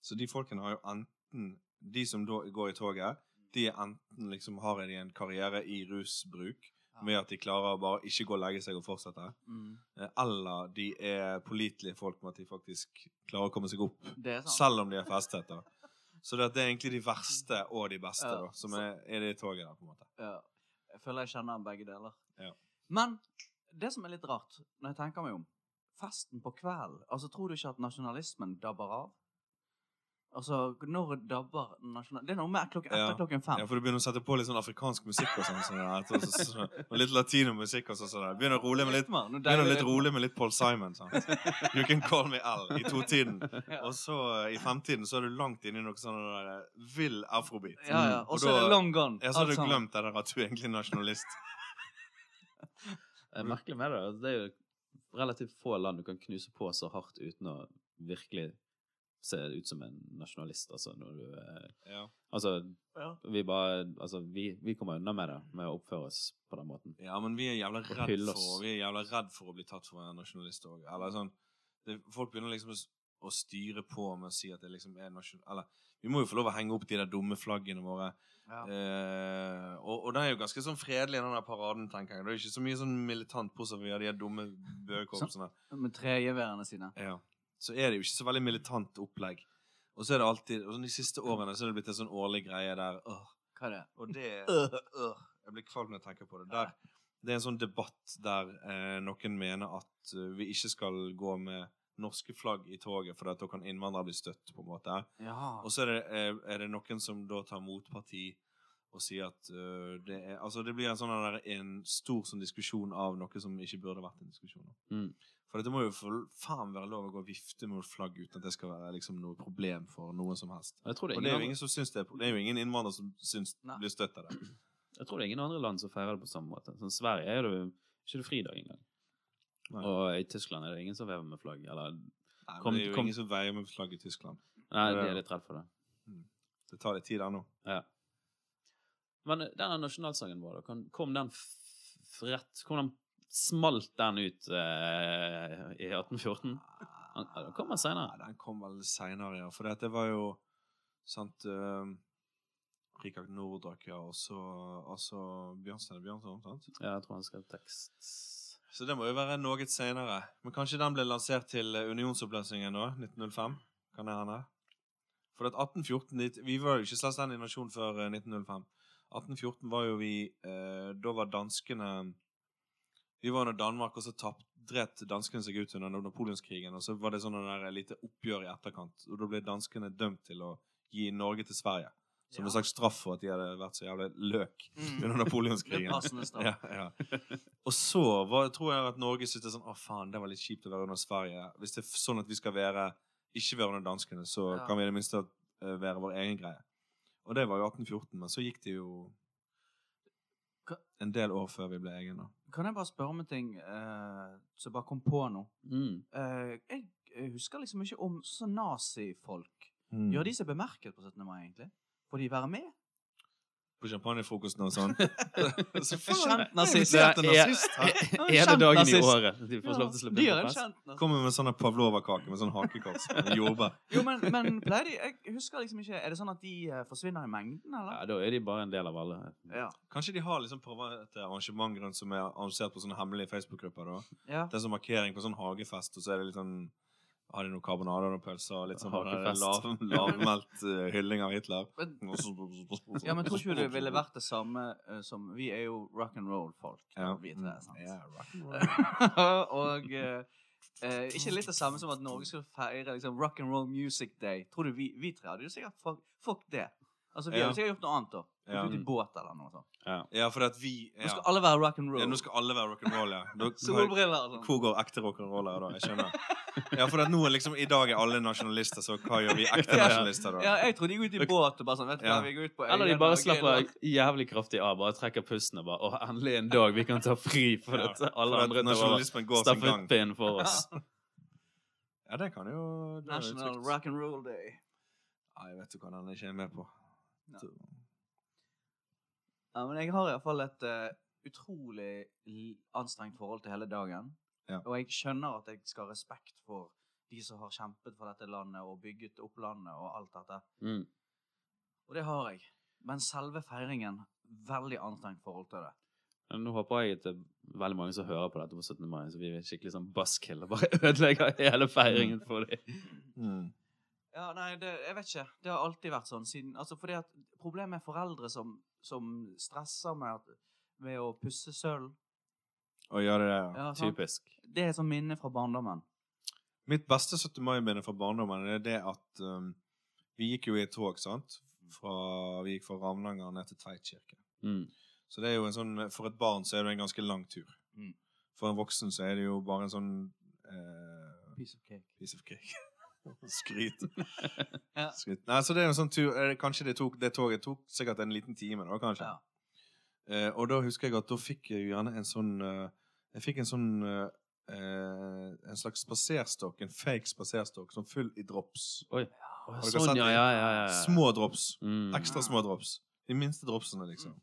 [SPEAKER 3] Så de folkene har jo enten De som da går i toget,
[SPEAKER 2] Mm.
[SPEAKER 3] de er enten liksom har de en karriere i rusbruk,
[SPEAKER 2] Ja.
[SPEAKER 3] med at de klarer å bare ikke gå og legge seg og fortsette,
[SPEAKER 2] Mm.
[SPEAKER 3] eh, eller de er pålitelige folk med at de faktisk klarer å komme seg opp,
[SPEAKER 2] Det er sant.
[SPEAKER 3] selv om de har festet. da. Så det at det er egentlig de verste og de beste
[SPEAKER 2] Mm. Ja,
[SPEAKER 3] da, som
[SPEAKER 2] så-
[SPEAKER 3] er, er det i toget der, på en måte.
[SPEAKER 2] Ja. Jeg føler jeg kjenner begge deler.
[SPEAKER 3] Ja.
[SPEAKER 2] Men det som er litt rart, når jeg tenker meg om Festen på kvelden altså Tror du ikke at nasjonalismen dabber av? Altså, når dabber nasjonal... Det er noe med klokken etter
[SPEAKER 3] Ja.
[SPEAKER 2] klokken fem.
[SPEAKER 3] Ja, for du begynner å sette på litt sånn afrikansk musikk og sånn, sånn der, etter- og så- så- og litt latinomusikk og sånn, sånn der. Begynner å rolig med litt
[SPEAKER 2] Rytmer, noe
[SPEAKER 3] Begynner
[SPEAKER 2] deilig
[SPEAKER 3] litt
[SPEAKER 2] rytmer.
[SPEAKER 3] rolig med litt Paul Simon. Sant? You can call me L i totiden. Og så eh, i fremtiden så er du langt inne i noe sånn der eh, vill afrobeat.
[SPEAKER 2] Ja, ja.
[SPEAKER 3] Mm, Og
[SPEAKER 2] Og så er
[SPEAKER 3] da-
[SPEAKER 2] det long gone.
[SPEAKER 3] Ja, så har
[SPEAKER 2] alt sånn.
[SPEAKER 3] du
[SPEAKER 2] sammen.
[SPEAKER 3] glemt det der at du egentlig er nasjonalist.
[SPEAKER 1] Det er merkelig med det. altså, Det er jo relativt få land du kan knuse på så hardt uten å virkelig se ut som en nasjonalist, altså, når du eh,
[SPEAKER 3] Ja.
[SPEAKER 1] Altså,
[SPEAKER 2] Ja.
[SPEAKER 1] vi bare Altså, vi, vi kommer unna med det, med å oppføre oss på den måten.
[SPEAKER 3] ja, men vi er jævla redd
[SPEAKER 1] hylle oss.
[SPEAKER 3] for, vi er jævla redd for å bli tatt for å være nasjonalist òg. Eller sånn det, Folk begynner liksom å s- å styre på med å si at det liksom er nasjon... Eller vi må jo få lov å henge opp de der dumme flaggene våre.
[SPEAKER 2] Ja.
[SPEAKER 3] Eh, og, og den er jo ganske sånn fredelig, den der paraden, tenker jeg. Det er ikke så mye sånn militant på som vi har de her dumme bøekorpsene.
[SPEAKER 2] Med tregeværene sine.
[SPEAKER 3] Ja. Så er det jo ikke så veldig militant opplegg. Og så er det alltid, og sånn de siste årene så er det blitt en sånn årlig greie der øh,
[SPEAKER 2] Hva er det?
[SPEAKER 3] Og det
[SPEAKER 2] Øh,
[SPEAKER 3] øh, Jeg blir kvalm når jeg tenker på det. Der, det er en sånn debatt der eh, noen mener at eh, vi ikke skal gå med norske flagg i toget, for at da kan innvandrere bli støtt, på en måte.
[SPEAKER 2] Ja.
[SPEAKER 3] Og så er det, eh, er det noen som da tar motparti og sier at eh, det er Altså, det blir en sånn der, en stor sånn diskusjon av noe som ikke burde vært en diskusjon. da.
[SPEAKER 1] Mm.
[SPEAKER 3] For dette må jo for faen være lov å gå og vifte med noe flagg uten at det skal være liksom, noe problem for noen som helst.
[SPEAKER 1] Og jeg tror det
[SPEAKER 3] Og
[SPEAKER 1] er
[SPEAKER 3] det er jo
[SPEAKER 1] ingen,
[SPEAKER 3] ingen som syns det er pro- Det er jo ingen innvandrere som syns
[SPEAKER 2] Nei.
[SPEAKER 3] blir støtt av det.
[SPEAKER 1] andre, jeg tror det er ingen andre land som feirer det på samme måte. Sånn Sverige er det jo ikke det fridag engang.
[SPEAKER 3] Nei.
[SPEAKER 1] Og i Tyskland er det ingen som vever med flagg. Eller
[SPEAKER 3] Nei, men
[SPEAKER 1] Kom-
[SPEAKER 3] det er jo
[SPEAKER 1] kom-
[SPEAKER 3] ingen som veier med flagg i Tyskland.
[SPEAKER 1] Nei,
[SPEAKER 3] Ja.
[SPEAKER 1] de er litt redd for det.
[SPEAKER 3] Det tar litt tid ennå.
[SPEAKER 1] Ja. Men denne nasjonalsangen vår, da, kan- kom den f- f- rett Kom den Smalt den ut eh, i 1814? Han, ja, den kommer senere.
[SPEAKER 3] Ja, den kom vel seinere, ja. For det var jo sant uh, Rikard Nordrak, ja, og så altså Bjørnstein og Bjørnson, sant?
[SPEAKER 1] Ja, jeg tror han skrev tekst
[SPEAKER 3] Så det må jo være noe seinere. Men kanskje den ble lansert til eh, unionsoppløsningen nå, 1905? Kan det hende? For at 1814 dit- Vi var jo ikke selvstendig nasjon før eh, 1905. 1814 var jo vi eh, Da var danskene Vi var under Danmark, og så tapt, dret danskene seg ut under napoleonskrigen. Og så var det sånn der eh, lite oppgjør i etterkant. Og da ble danskene dømt til å gi Norge til Sverige. Som en slags straff for at de hadde vært så jævla løk
[SPEAKER 2] Mm.
[SPEAKER 3] under
[SPEAKER 2] Det er
[SPEAKER 3] napoleonskrigen.
[SPEAKER 2] passende straff.
[SPEAKER 3] Ja, ja. Og så var, tror jeg at Norge syntes sånn Å, faen, det var litt kjipt å være under Sverige. Hvis det er sånn at vi skal være ikke være under danskene, så
[SPEAKER 2] Ja.
[SPEAKER 3] kan vi i det minste eh, være vår egen greie. Og det var jo 1814, men så gikk det jo
[SPEAKER 2] Hva-
[SPEAKER 3] en del år før vi ble egen, da.
[SPEAKER 2] Kan jeg bare spørre om en ting eh, som jeg bare kom på nå?
[SPEAKER 1] Mm.
[SPEAKER 2] Eh, jeg eh, husker liksom ikke om sånn nazifolk.
[SPEAKER 3] Mm.
[SPEAKER 2] Gjør de seg bemerket på 17. mai, egentlig? Får de være med?
[SPEAKER 3] På champagnefrokosten og sånn. så faen!
[SPEAKER 2] Kjent nazist.
[SPEAKER 3] Det er-
[SPEAKER 1] Det er-
[SPEAKER 3] nazist, hæ?
[SPEAKER 2] Ja, en
[SPEAKER 1] Er det
[SPEAKER 2] kjent
[SPEAKER 1] dagen i
[SPEAKER 2] nazist.
[SPEAKER 1] året de får lov til å slippe
[SPEAKER 2] de
[SPEAKER 1] inn på
[SPEAKER 2] er en
[SPEAKER 1] fest?
[SPEAKER 2] kjent nazist.
[SPEAKER 3] Kommer med sånn pavlova-kake med sånn hakekors. med Jordbær.
[SPEAKER 2] Jo, men, men pleier de Jeg husker liksom ikke Er det sånn at de eh, forsvinner i mengden,
[SPEAKER 1] Ja,
[SPEAKER 2] eller?
[SPEAKER 1] da er de bare en del av alle.
[SPEAKER 2] Ja.
[SPEAKER 3] Kanskje de har liksom private arrangement rundt som er arrangert på sånne hemmelige Facebook-grupper, da?
[SPEAKER 2] ja.
[SPEAKER 3] Det er sånn markering på sånn hagefest, og så er det litt sånn Har de noen karbonader og pølser og litt sånn
[SPEAKER 1] Hagefest.
[SPEAKER 3] lav, lavmælt eh, hylling av Hitler?
[SPEAKER 2] Men, ja, men tror ikke du det ville vært det samme eh, som Vi er jo rock and roll-folk.
[SPEAKER 3] ja.
[SPEAKER 2] Vi tre, sant?
[SPEAKER 3] Ja, rock and roll.
[SPEAKER 2] og eh, eh, ikke litt det samme som at Norge skulle feire liksom, rock and roll music day. Tror du vi, vi tre hadde jo sikkert fuck, fuck det. Altså, Vi
[SPEAKER 3] Ja.
[SPEAKER 2] hadde sikkert gjort noe annet da. Gått
[SPEAKER 3] Ja.
[SPEAKER 2] ut i båt eller noe sånt.
[SPEAKER 3] Ja, for at vi
[SPEAKER 2] Nå
[SPEAKER 3] ja.
[SPEAKER 2] skal alle være rock and roll.
[SPEAKER 3] ja, Nå skal alle være rock'n'roll, ja. Da-
[SPEAKER 2] Solbriller og sånn.
[SPEAKER 3] Hvor går ekte rock'n'roller da? Jeg skjønner. Ja, for at nå er liksom I dag er alle nasjonalister, så hva gjør vi ekte
[SPEAKER 2] Ja.
[SPEAKER 3] nasjonalister da?
[SPEAKER 2] Ja, jeg trodde de gikk ut i båt og bare sånn Vet du hva,
[SPEAKER 3] Ja.
[SPEAKER 2] vi går ut på
[SPEAKER 1] Eller de
[SPEAKER 2] øyene,
[SPEAKER 1] bare
[SPEAKER 2] og gøy,
[SPEAKER 1] slapper
[SPEAKER 2] da.
[SPEAKER 1] jævlig kraftig av. Bare trekker pusten og bare Å, endelig en dag vi kan ta fri for
[SPEAKER 3] Ja,
[SPEAKER 1] dette.
[SPEAKER 3] For
[SPEAKER 1] Alle
[SPEAKER 3] at
[SPEAKER 1] andre tar over
[SPEAKER 3] nasjonalismen går sin gang.
[SPEAKER 1] stafettpinnen for oss.
[SPEAKER 3] Ja, det kan jo det er jo
[SPEAKER 2] National
[SPEAKER 3] trygt.
[SPEAKER 2] rock and roll day.
[SPEAKER 3] Nei, vet du hva den ikke er med på.
[SPEAKER 2] Nei. Ja, men jeg har iallfall et eh, utrolig l- anstrengt forhold til hele dagen.
[SPEAKER 3] Ja.
[SPEAKER 2] Og jeg skjønner at jeg skal ha respekt for de som har kjempet for dette landet og bygget opp landet og alt dette.
[SPEAKER 1] Mm.
[SPEAKER 2] Og det har jeg. Men selve feiringen Veldig anstrengt forhold til det.
[SPEAKER 1] Men Nå håper jeg at det er veldig mange som hører på dette på 17. mai, så vi er skikkelig sånn buskill og bare ødelegger hele feiringen for dem.
[SPEAKER 3] Mm.
[SPEAKER 2] Ja, nei, det, jeg vet ikke. Det har alltid vært sånn siden Altså, fordi at Problemet er foreldre som, som stresser med, at, med å pusse sølv.
[SPEAKER 3] Og gjør det, ja.
[SPEAKER 2] Ja, sant?
[SPEAKER 1] Typisk.
[SPEAKER 2] Det er et sånt minne fra barndommen.
[SPEAKER 3] Mitt beste 17. mai-minne fra barndommen er det at um, vi gikk jo i et tog, sant? Fra, vi gikk fra Ravnanger ned til Tveitkirke.
[SPEAKER 1] Mm.
[SPEAKER 3] Så det er jo en sånn, for et barn så er det en ganske lang tur.
[SPEAKER 2] Mm.
[SPEAKER 3] For en voksen så er det jo bare en sånn eh,
[SPEAKER 2] Piece of cake.
[SPEAKER 3] piece of cake. Skryt.
[SPEAKER 2] Ja.
[SPEAKER 3] Skryt. Nei, så det er jo en sånn tur, eh, kanskje det, tok, det toget tok sikkert en liten time da, kanskje.
[SPEAKER 2] Ja.
[SPEAKER 3] Eh, og da husker jeg at da fikk jeg jo gjerne en sånn eh, Jeg fikk en sånn eh, eh, En slags spaserstokk, en fake spaserstokk, sånn full i drops.
[SPEAKER 1] Å,
[SPEAKER 3] Har dere
[SPEAKER 1] Sånn,
[SPEAKER 3] sett
[SPEAKER 1] ja,
[SPEAKER 3] de
[SPEAKER 1] ja, ja. ja.
[SPEAKER 3] Små drops.
[SPEAKER 1] Mm.
[SPEAKER 3] Ekstra små drops. De minste dropsene, liksom.
[SPEAKER 1] Mm.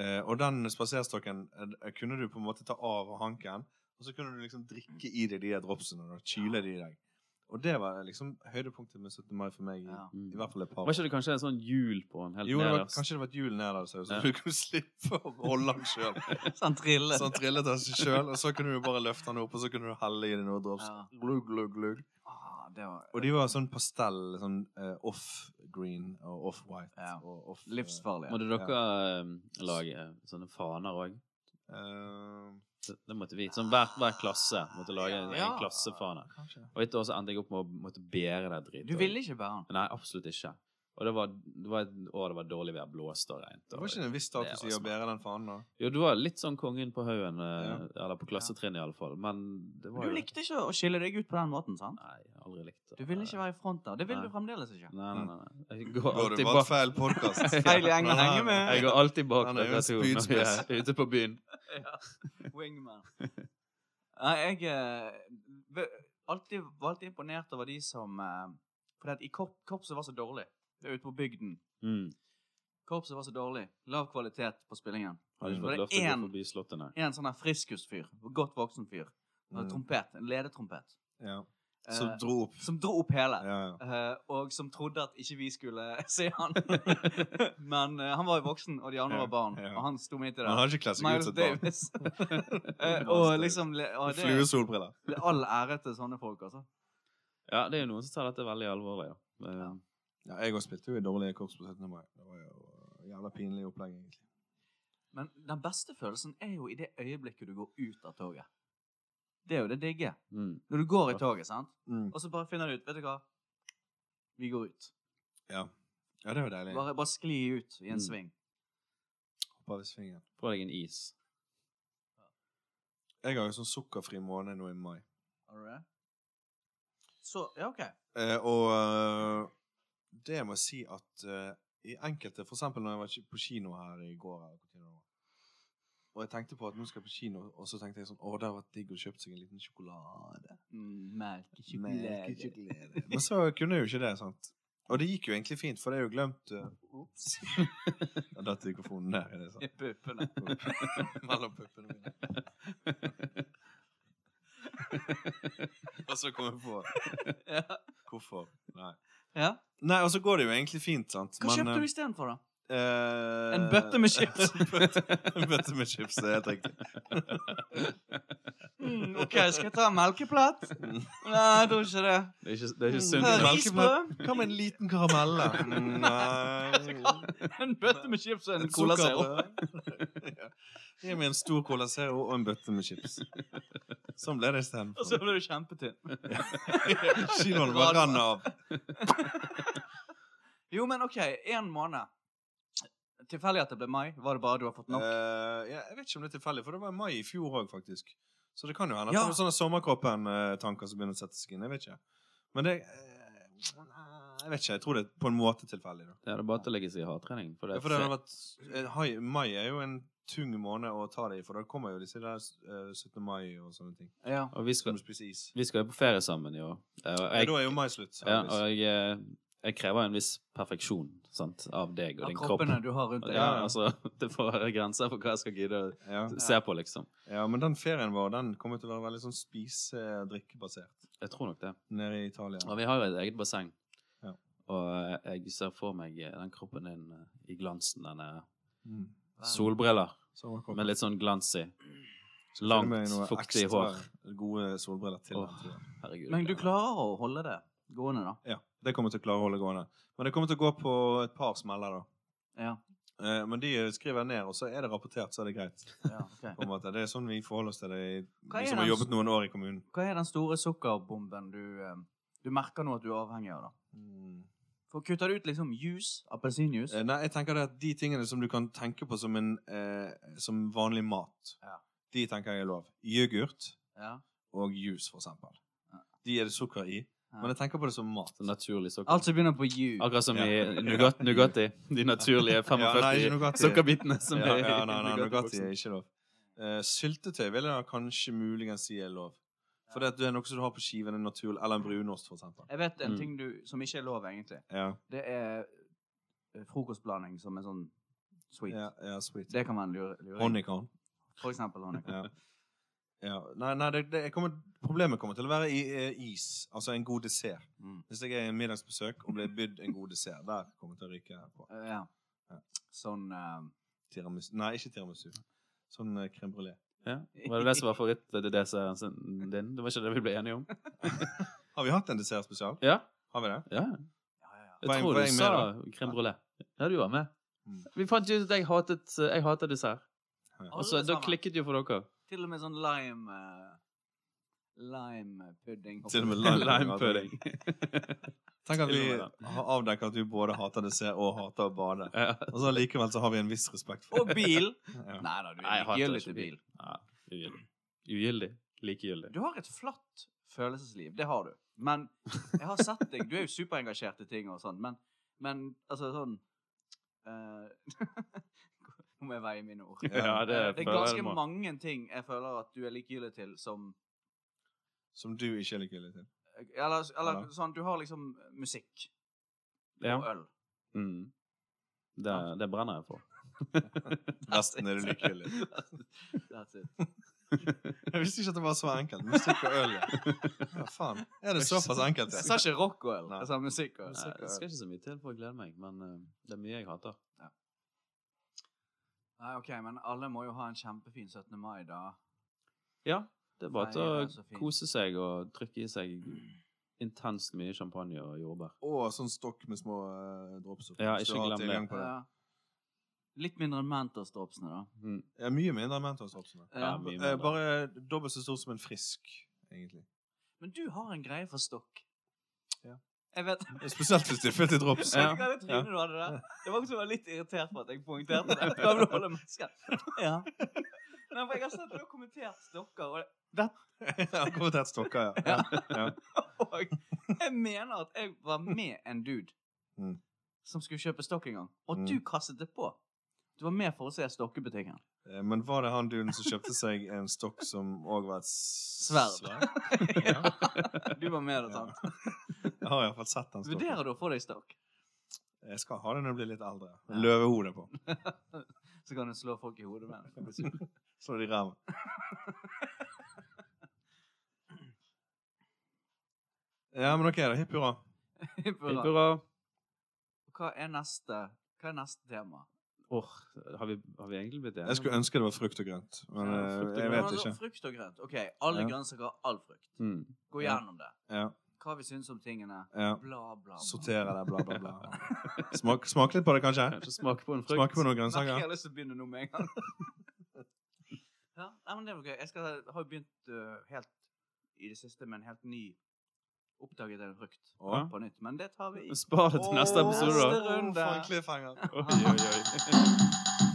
[SPEAKER 3] Eh, og den spaserstokken eh, kunne du på en måte ta av av hanken, og så kunne du liksom drikke i deg de der dropsene og kyle de i deg. Og det var liksom høydepunktet med 17. mai for meg. i-
[SPEAKER 2] Ja.
[SPEAKER 1] Mm.
[SPEAKER 3] I hvert fall et par
[SPEAKER 1] Var
[SPEAKER 3] år.
[SPEAKER 1] ikke det kanskje en sånn hjul på den helt
[SPEAKER 3] Jo, det var,
[SPEAKER 1] nederst?
[SPEAKER 3] kanskje det var et hjul nederst, så
[SPEAKER 1] Ja.
[SPEAKER 3] du kunne slippe å holde den sjøl.
[SPEAKER 2] Sånn trille.
[SPEAKER 3] Så han trillet av seg sjøl, og så kunne du bare løfte han opp, og så kunne du helle i det noe drops.
[SPEAKER 2] Ja.
[SPEAKER 3] Glugg, glugg, glugg.
[SPEAKER 2] Ah, det var
[SPEAKER 3] Og de var sånn pastell, sånn eh, off-green og off-white.
[SPEAKER 2] Ja.
[SPEAKER 3] Og off,
[SPEAKER 2] livsfarlig.
[SPEAKER 1] Måtte dere eh, lage sånne faner òg?
[SPEAKER 3] eh, eh,
[SPEAKER 1] Det, det måtte vi. Sånn hver, hver klasse måtte lage en,
[SPEAKER 2] Ja.
[SPEAKER 1] en klassefane.
[SPEAKER 3] kanskje.
[SPEAKER 1] Og et år så endte jeg opp med å måtte bære det dritet.
[SPEAKER 2] Du ville ikke bære den.
[SPEAKER 1] Nei, absolutt ikke. Og det var, det var et år det var dårlig vær, blåste og regnet.
[SPEAKER 3] Det
[SPEAKER 1] og-
[SPEAKER 3] var ikke en viss status
[SPEAKER 1] Det
[SPEAKER 3] i
[SPEAKER 1] var
[SPEAKER 3] å bære den fanen, da.
[SPEAKER 1] Jo, du var litt sånn kongen på haugen, eh, eller på klassetrinnet i alle fall, men det var
[SPEAKER 2] Du
[SPEAKER 1] jo
[SPEAKER 2] likte ikke å skille deg ut på den måten, sant?
[SPEAKER 1] Nei, jeg har aldri likt det.
[SPEAKER 2] Du ville ikke Mm. være i front der. Det vil
[SPEAKER 1] Nei.
[SPEAKER 2] du fremdeles ikke.
[SPEAKER 1] Nei, nei, nei. nei. Jeg går
[SPEAKER 3] Da har du
[SPEAKER 1] alltid
[SPEAKER 3] valgt
[SPEAKER 1] bak,
[SPEAKER 3] feil podkast.
[SPEAKER 2] Feil gjeng å henge med.
[SPEAKER 1] jeg går alltid bak
[SPEAKER 3] Han er jo
[SPEAKER 1] dere
[SPEAKER 3] en
[SPEAKER 1] to når vi
[SPEAKER 3] spydspiss.
[SPEAKER 1] er ute på byen.
[SPEAKER 2] Wingman. Nei, jeg eh, ve- alltid, var alltid imponert over de som eh, Fordi at i korp, korpset var så dårlig. Det er ute på bygden.
[SPEAKER 1] Mm.
[SPEAKER 2] Korpset var så dårlig. Lav kvalitet på spillingen.
[SPEAKER 1] Har ikke fått
[SPEAKER 2] Var det
[SPEAKER 1] lov til å
[SPEAKER 2] en-
[SPEAKER 1] gå forbi slottet, nei.
[SPEAKER 2] En sånn her friskusfyr. Godt voksen fyr. Med
[SPEAKER 3] Mm,
[SPEAKER 2] Trompet. En ledetrompet.
[SPEAKER 3] ja.
[SPEAKER 2] eh,
[SPEAKER 3] Som dro opp.
[SPEAKER 2] som dro opp hele.
[SPEAKER 3] Ja, ja.
[SPEAKER 2] Eh, og som trodde at ikke vi skulle se han. Men eh, han var jo voksen, og de andre
[SPEAKER 3] Ja,
[SPEAKER 2] var barn.
[SPEAKER 3] ja.
[SPEAKER 2] Og han sto midt i
[SPEAKER 3] Han
[SPEAKER 2] det.
[SPEAKER 3] har ikke kledd seg ut
[SPEAKER 2] Miles
[SPEAKER 3] som et barn.
[SPEAKER 2] Davis. Eh, og liksom le- og det,
[SPEAKER 3] Fluesolbriller.
[SPEAKER 2] All ære til sånne folk, altså.
[SPEAKER 1] Ja, det er jo noen som tar dette veldig alvorlig, ja. Eh,
[SPEAKER 2] Ja.
[SPEAKER 3] Ja, jeg også spilte jo i dårlige korps på 17. mai. Det var jo eh, jævla pinlig opplegg, egentlig.
[SPEAKER 2] Men den beste følelsen er jo i det øyeblikket du går ut av toget. Det er jo det digge.
[SPEAKER 1] Mm.
[SPEAKER 2] Når du går
[SPEAKER 3] Ja.
[SPEAKER 2] i toget, sant,
[SPEAKER 3] Mm.
[SPEAKER 2] og så bare finner du ut Vet du hva? Vi går ut.
[SPEAKER 3] Ja. ja, det var deilig.
[SPEAKER 2] Bare, bare skli ut i en
[SPEAKER 1] Mm.
[SPEAKER 2] sving.
[SPEAKER 3] Hoppa over svingen.
[SPEAKER 1] Få deg en is.
[SPEAKER 3] Jeg har jo sånn sukkerfri måned nå i mai.
[SPEAKER 2] Har du det? Så Ja, OK.
[SPEAKER 3] Eh, og eh, det må jeg si at eh, i enkelte For eksempel når jeg var ki- på kino her i går eller hvor tid det var, Og jeg tenkte på at nå skal jeg på kino, og så tenkte jeg sånn Å, det hadde vært digg å kjøpe seg en liten sjokolade.
[SPEAKER 2] Mm, Melkesjokolade.
[SPEAKER 3] Melkesjokolade. Men så kunne jeg jo ikke det, sant. Og det gikk jo egentlig fint, for det er jo glemt eh,
[SPEAKER 2] Ops.
[SPEAKER 3] Da datt mikrofonen der. Er det sant?
[SPEAKER 2] I puppene.
[SPEAKER 3] Mellom puppene mine. og så kom jeg på
[SPEAKER 2] Ja.
[SPEAKER 3] hvorfor. Nei.
[SPEAKER 2] ja.
[SPEAKER 3] Nei, og så går det jo egentlig fint, sant.
[SPEAKER 2] Hva kjøpte du istedenfor, da?
[SPEAKER 3] Eh,
[SPEAKER 2] En bøtte med chips.
[SPEAKER 3] en bøtte- en bøtte med chips, det er helt riktig.
[SPEAKER 2] Mm, OK, skal jeg ta en melkeplatt? Nei, jeg tror ikke det.
[SPEAKER 1] Det er ikke, det er ikke
[SPEAKER 3] Mm.
[SPEAKER 1] sunt.
[SPEAKER 2] Ta
[SPEAKER 3] Melk-
[SPEAKER 2] Risbrød?
[SPEAKER 3] Hva med en liten karamell? da? Mm, Nei
[SPEAKER 2] En bøtte med chips og en Cola Zero.
[SPEAKER 3] Sukkerbrød. Ja. Gi meg en stor Cola Zero og en bøtte med chips. Sånn ble det
[SPEAKER 2] Og så
[SPEAKER 3] istedenfor.
[SPEAKER 2] ble du kjempetynn.
[SPEAKER 3] Kinoen bare rann av.
[SPEAKER 2] Jo, men OK, én måned. Tilfeldig at det ble mai? Var det bare du har fått nok?
[SPEAKER 3] Eh, ja, jeg vet ikke om det er tilfeldig, for det var i mai i fjor òg, faktisk. Så det kan jo hende at
[SPEAKER 2] Ja.
[SPEAKER 3] det er sånne sommerkroppen-tanker som begynner å sette seg inn. Jeg vet ikke. Men det eh, Jeg vet ikke. Jeg tror det er på en måte tilfeldig. da.
[SPEAKER 1] Det er bare til å legge seg i hardtrening. For det
[SPEAKER 3] Ja,
[SPEAKER 1] er
[SPEAKER 3] for det har vært, eh, hai- mai er jo en tung måned å ta det i, for da kommer jo disse der eh, 17. mai og sånne ting.
[SPEAKER 2] Ja.
[SPEAKER 1] Og vi
[SPEAKER 3] Du
[SPEAKER 1] skal,
[SPEAKER 3] må spise is.
[SPEAKER 1] vi skal jo på ferie sammen i år. Eh, og
[SPEAKER 3] Ja,
[SPEAKER 1] jeg-
[SPEAKER 3] da er jo mai slutt.
[SPEAKER 1] Ja,
[SPEAKER 3] heldigvis.
[SPEAKER 1] og jeg, eh, jeg krever en viss perfeksjon sant, av deg og
[SPEAKER 2] Av
[SPEAKER 1] din kropp.
[SPEAKER 2] kroppene du har rundt deg.
[SPEAKER 1] Ja, altså, det får være grenser for hva jeg skal gidde å
[SPEAKER 3] ja.
[SPEAKER 1] se på, liksom.
[SPEAKER 3] ja, men den ferien vår den kommer til å være veldig sånn spise-drikke-basert
[SPEAKER 1] Jeg tror nok det.
[SPEAKER 3] nede i Italia.
[SPEAKER 1] Og vi har jo et eget basseng.
[SPEAKER 3] Ja.
[SPEAKER 1] Og eh, jeg ser for meg eh, den kroppen din eh, i glansen, denne
[SPEAKER 3] Mm.
[SPEAKER 1] solbriller
[SPEAKER 3] Sommerkroppen.
[SPEAKER 1] med litt sånn glans i.
[SPEAKER 3] Så følger
[SPEAKER 1] Langt,
[SPEAKER 3] med noe
[SPEAKER 1] fuktig
[SPEAKER 3] ekstra
[SPEAKER 1] hår.
[SPEAKER 3] Gode solbriller til.
[SPEAKER 1] Åh.
[SPEAKER 3] den, tror jeg.
[SPEAKER 1] Herregud.
[SPEAKER 2] Men du
[SPEAKER 1] det-
[SPEAKER 2] klarer å holde det gående, da?
[SPEAKER 3] Ja, det kommer til å klare å holde gående. Men det kommer til å gå på et par smeller, da.
[SPEAKER 2] Ja.
[SPEAKER 3] Eh, Men de skriver jeg ned, og så er det rapportert, så er det greit.
[SPEAKER 2] ja ok.
[SPEAKER 3] På en måte. Det er sånn vi forholder oss til det, i-
[SPEAKER 2] Hva er
[SPEAKER 3] vi som har
[SPEAKER 2] den-
[SPEAKER 3] jobbet noen år i kommunen.
[SPEAKER 2] Hva er den store sukkerbomben du eh, Du merker nå at du er avhengig av, da?
[SPEAKER 3] Mm.
[SPEAKER 2] For kutter du ut liksom juice, appelsinjuice
[SPEAKER 3] Eh, Nei, jeg tenker det at de tingene som du kan tenke på som, en, eh, som vanlig mat,
[SPEAKER 2] Ja.
[SPEAKER 3] de tenker jeg er lov. Yoghurt
[SPEAKER 2] ja.
[SPEAKER 3] og juice, for eksempel.
[SPEAKER 2] Ja.
[SPEAKER 3] De er det sukker i.
[SPEAKER 2] Ja. Sånn
[SPEAKER 3] Men jeg tenker på det som mat.
[SPEAKER 1] Så naturlig sukker.
[SPEAKER 2] Alt som begynner på U.
[SPEAKER 1] Akkurat som
[SPEAKER 3] Altså, Ja.
[SPEAKER 1] i Nugat- Nugatti. De naturlige
[SPEAKER 3] Ja, nei,
[SPEAKER 1] 45
[SPEAKER 3] ikke Nugatti.
[SPEAKER 1] sukkerbitene som
[SPEAKER 3] ja,
[SPEAKER 1] er i
[SPEAKER 3] ja, nei, nei, Nugatti
[SPEAKER 1] Nugatti-boksen.
[SPEAKER 2] sånn.
[SPEAKER 3] er ikke lov. Eh, syltetøy vil jeg da kanskje muligens si er lov. For det, at det er noe som du har på skiven, en naturlig, eller en brunost, for eksempel.
[SPEAKER 2] Jeg vet en
[SPEAKER 1] Mm.
[SPEAKER 2] ting du, som ikke er lov, egentlig.
[SPEAKER 3] Ja,
[SPEAKER 2] Det er eh, frokostblanding som er sånn sweet.
[SPEAKER 3] ja, ja sweet.
[SPEAKER 2] Det kan være en lure- luring.
[SPEAKER 3] Honeycomb.
[SPEAKER 2] For eksempel honning.
[SPEAKER 3] Ja. ja. Nei, nei det, det jeg kommer, problemet kommer til å være i, eh, is. Altså en god dessert.
[SPEAKER 2] Mm.
[SPEAKER 3] Hvis jeg er i en middagsbesøk og blir bydd en god dessert, der kommer jeg til å ryke på.
[SPEAKER 2] Eh, ja.
[SPEAKER 3] Ja.
[SPEAKER 2] Sånn eh,
[SPEAKER 3] Tiramisu. Nei, ikke tiramisu. Sånn eh, crème brulé.
[SPEAKER 1] Ja. Var det det som var favorittdesserten din? Det var ikke det vi ble enige om?
[SPEAKER 3] Har vi hatt en dessert spesial?
[SPEAKER 1] Ja,
[SPEAKER 3] Har vi det?
[SPEAKER 1] ja.
[SPEAKER 2] ja, ja, ja.
[SPEAKER 1] Jeg
[SPEAKER 3] Var jeg-
[SPEAKER 1] tror
[SPEAKER 3] var
[SPEAKER 1] du
[SPEAKER 3] jeg med
[SPEAKER 1] sa
[SPEAKER 3] da?
[SPEAKER 1] crème brulé. Ja, du var med.
[SPEAKER 3] Mm.
[SPEAKER 1] Vi fant jo ut at jeg hatet jeg hater dessert. Og så
[SPEAKER 2] Alle
[SPEAKER 1] da
[SPEAKER 2] sammen.
[SPEAKER 1] klikket jo for dere.
[SPEAKER 2] Til og med sånn lime eh, Lime pudding.
[SPEAKER 3] Til og med lime.
[SPEAKER 1] Limepudding.
[SPEAKER 3] Tenk at vi
[SPEAKER 1] Til og
[SPEAKER 3] har avdekket at vi både hater dessert og hater å bade.
[SPEAKER 1] Ja.
[SPEAKER 3] Og så likevel så har vi en viss respekt for
[SPEAKER 2] Og bil!
[SPEAKER 3] Ja.
[SPEAKER 2] Nei da, du
[SPEAKER 1] Nei, jeg
[SPEAKER 2] er
[SPEAKER 1] hater
[SPEAKER 2] likegyldig
[SPEAKER 1] ikke
[SPEAKER 2] til
[SPEAKER 1] bil.
[SPEAKER 2] bil.
[SPEAKER 1] Ja, Ugyldig. Ugyldig. Likegyldig.
[SPEAKER 2] Du har et flatt følelsesliv. Det har du. Men jeg har sett deg. Du er jo superengasjert i ting og sånn, men, men altså sånn eh, Nå må jeg veie mine ord.
[SPEAKER 1] Ja, det
[SPEAKER 2] Eh, det er
[SPEAKER 1] føler
[SPEAKER 2] ganske
[SPEAKER 1] jeg du må.
[SPEAKER 2] mange ting jeg føler at du er likegyldig til som
[SPEAKER 3] Som du ikke er likegyldig til.
[SPEAKER 2] Eller, eller
[SPEAKER 3] Ja.
[SPEAKER 2] sånn, du har liksom musikk og
[SPEAKER 1] Ja.
[SPEAKER 2] øl.
[SPEAKER 1] Mm. Det, det brenner jeg for.
[SPEAKER 3] Resten er du likegyldig til.
[SPEAKER 2] That's it.
[SPEAKER 3] Jeg visste ikke at det var så enkelt. Musikk og øl, ja. ja faen. Er det såpass enkelt?
[SPEAKER 2] Jeg
[SPEAKER 3] Ja?
[SPEAKER 2] sa ikke rock og øl.
[SPEAKER 3] Nei.
[SPEAKER 2] Jeg sa musikk og øl.
[SPEAKER 1] Nei, det skal ikke så mye til for å glede meg, men eh, det er mye jeg hater.
[SPEAKER 2] Nei, ok, men alle må jo ha en kjempefin 17. mai, da.
[SPEAKER 1] Ja, det er bare til
[SPEAKER 2] Nei, det er så
[SPEAKER 1] å
[SPEAKER 2] fint.
[SPEAKER 1] kose seg og drikke i seg intenst mye champagne og jordbær.
[SPEAKER 3] Og sånn stokk med små eh, drops. oppi,
[SPEAKER 1] Ja,
[SPEAKER 3] hvis du
[SPEAKER 1] ikke
[SPEAKER 3] har
[SPEAKER 1] glem det.
[SPEAKER 3] tilgang på
[SPEAKER 2] Ja. Eh, Litt mindre enn Mentos-dropsene, da.
[SPEAKER 1] Mm.
[SPEAKER 3] Ja, mye mindre enn Mentos-dropsene.
[SPEAKER 1] Ja,
[SPEAKER 2] Ja.
[SPEAKER 1] mye
[SPEAKER 3] Eh,
[SPEAKER 1] mindre.
[SPEAKER 3] Bare dobbelt så stor som en frisk, egentlig.
[SPEAKER 2] Men du har en greie for stokk.
[SPEAKER 3] Ja.
[SPEAKER 2] Jeg vet
[SPEAKER 3] Spesielt hvis det er fylt i drops.
[SPEAKER 2] Så
[SPEAKER 1] Ja.
[SPEAKER 2] hva det trynet du hadde der? Det var også jeg var litt irritert for at jeg poengterte det. Jeg prøvde å holde masken. Ja. Nei, for jeg har sett du har kommentert stokker, og,
[SPEAKER 3] Akkurat et stokker, ja.
[SPEAKER 2] og jeg mener at jeg var med en dude
[SPEAKER 3] Mm.
[SPEAKER 2] som skulle kjøpe stokk en gang, og
[SPEAKER 3] Mm.
[SPEAKER 2] du kastet det på. Du var med for å se stokkebutikken.
[SPEAKER 3] Eh, Men var det han duden som kjøpte seg en stokk som òg var et
[SPEAKER 2] Sverd.
[SPEAKER 3] sverd? Ja.
[SPEAKER 2] Du var med det, sant?
[SPEAKER 3] Jeg har iallfall sett den stokken.
[SPEAKER 2] Vurderer du å få deg stokk?
[SPEAKER 3] Jeg skal ha det når jeg blir litt eldre.
[SPEAKER 2] Ja.
[SPEAKER 3] Løvehode på.
[SPEAKER 2] Så kan du slå folk i hodet med den.
[SPEAKER 3] Slå det i ræva. Ja, men ok, da. Hipp hurra.
[SPEAKER 2] Hipp
[SPEAKER 1] Hipp
[SPEAKER 2] hurra.
[SPEAKER 1] hurra.
[SPEAKER 2] Hva er neste? Hva er neste tema?
[SPEAKER 1] Åh, har, vi, har vi egentlig blitt enige?
[SPEAKER 3] Jeg skulle ønske det var frukt og grønt, men
[SPEAKER 1] Ja,
[SPEAKER 3] eh,
[SPEAKER 1] frukt og
[SPEAKER 3] jeg
[SPEAKER 1] grønt.
[SPEAKER 3] vet ikke.
[SPEAKER 2] Frukt og grønt. Ok, alle
[SPEAKER 3] Ja.
[SPEAKER 2] grønnsaker har all frukt.
[SPEAKER 1] Mm.
[SPEAKER 2] Gå
[SPEAKER 3] Ja.
[SPEAKER 2] gjennom det.
[SPEAKER 3] Ja,
[SPEAKER 2] Hva vi syns om tingene.
[SPEAKER 3] ja.
[SPEAKER 2] Bla, bla, bla.
[SPEAKER 3] Sortere det, bla, bla, bla. Smak, smak litt på det, kanskje?
[SPEAKER 1] Kanskje smake på en frukt.
[SPEAKER 3] Smake på noen
[SPEAKER 2] Merker jeg
[SPEAKER 3] grønnsaker?
[SPEAKER 2] har lyst til å begynne nå med en gang. ja, nei, men det var gøy. Jeg skal, har jo begynt øh, helt i det siste med en helt ny oppdaget en frukt
[SPEAKER 1] Ja.
[SPEAKER 2] på nytt. Men det tar vi i
[SPEAKER 1] Spar det til neste episode, da.
[SPEAKER 2] Neste runde.
[SPEAKER 3] For en cliffhanger.
[SPEAKER 1] Oi, oi, oi.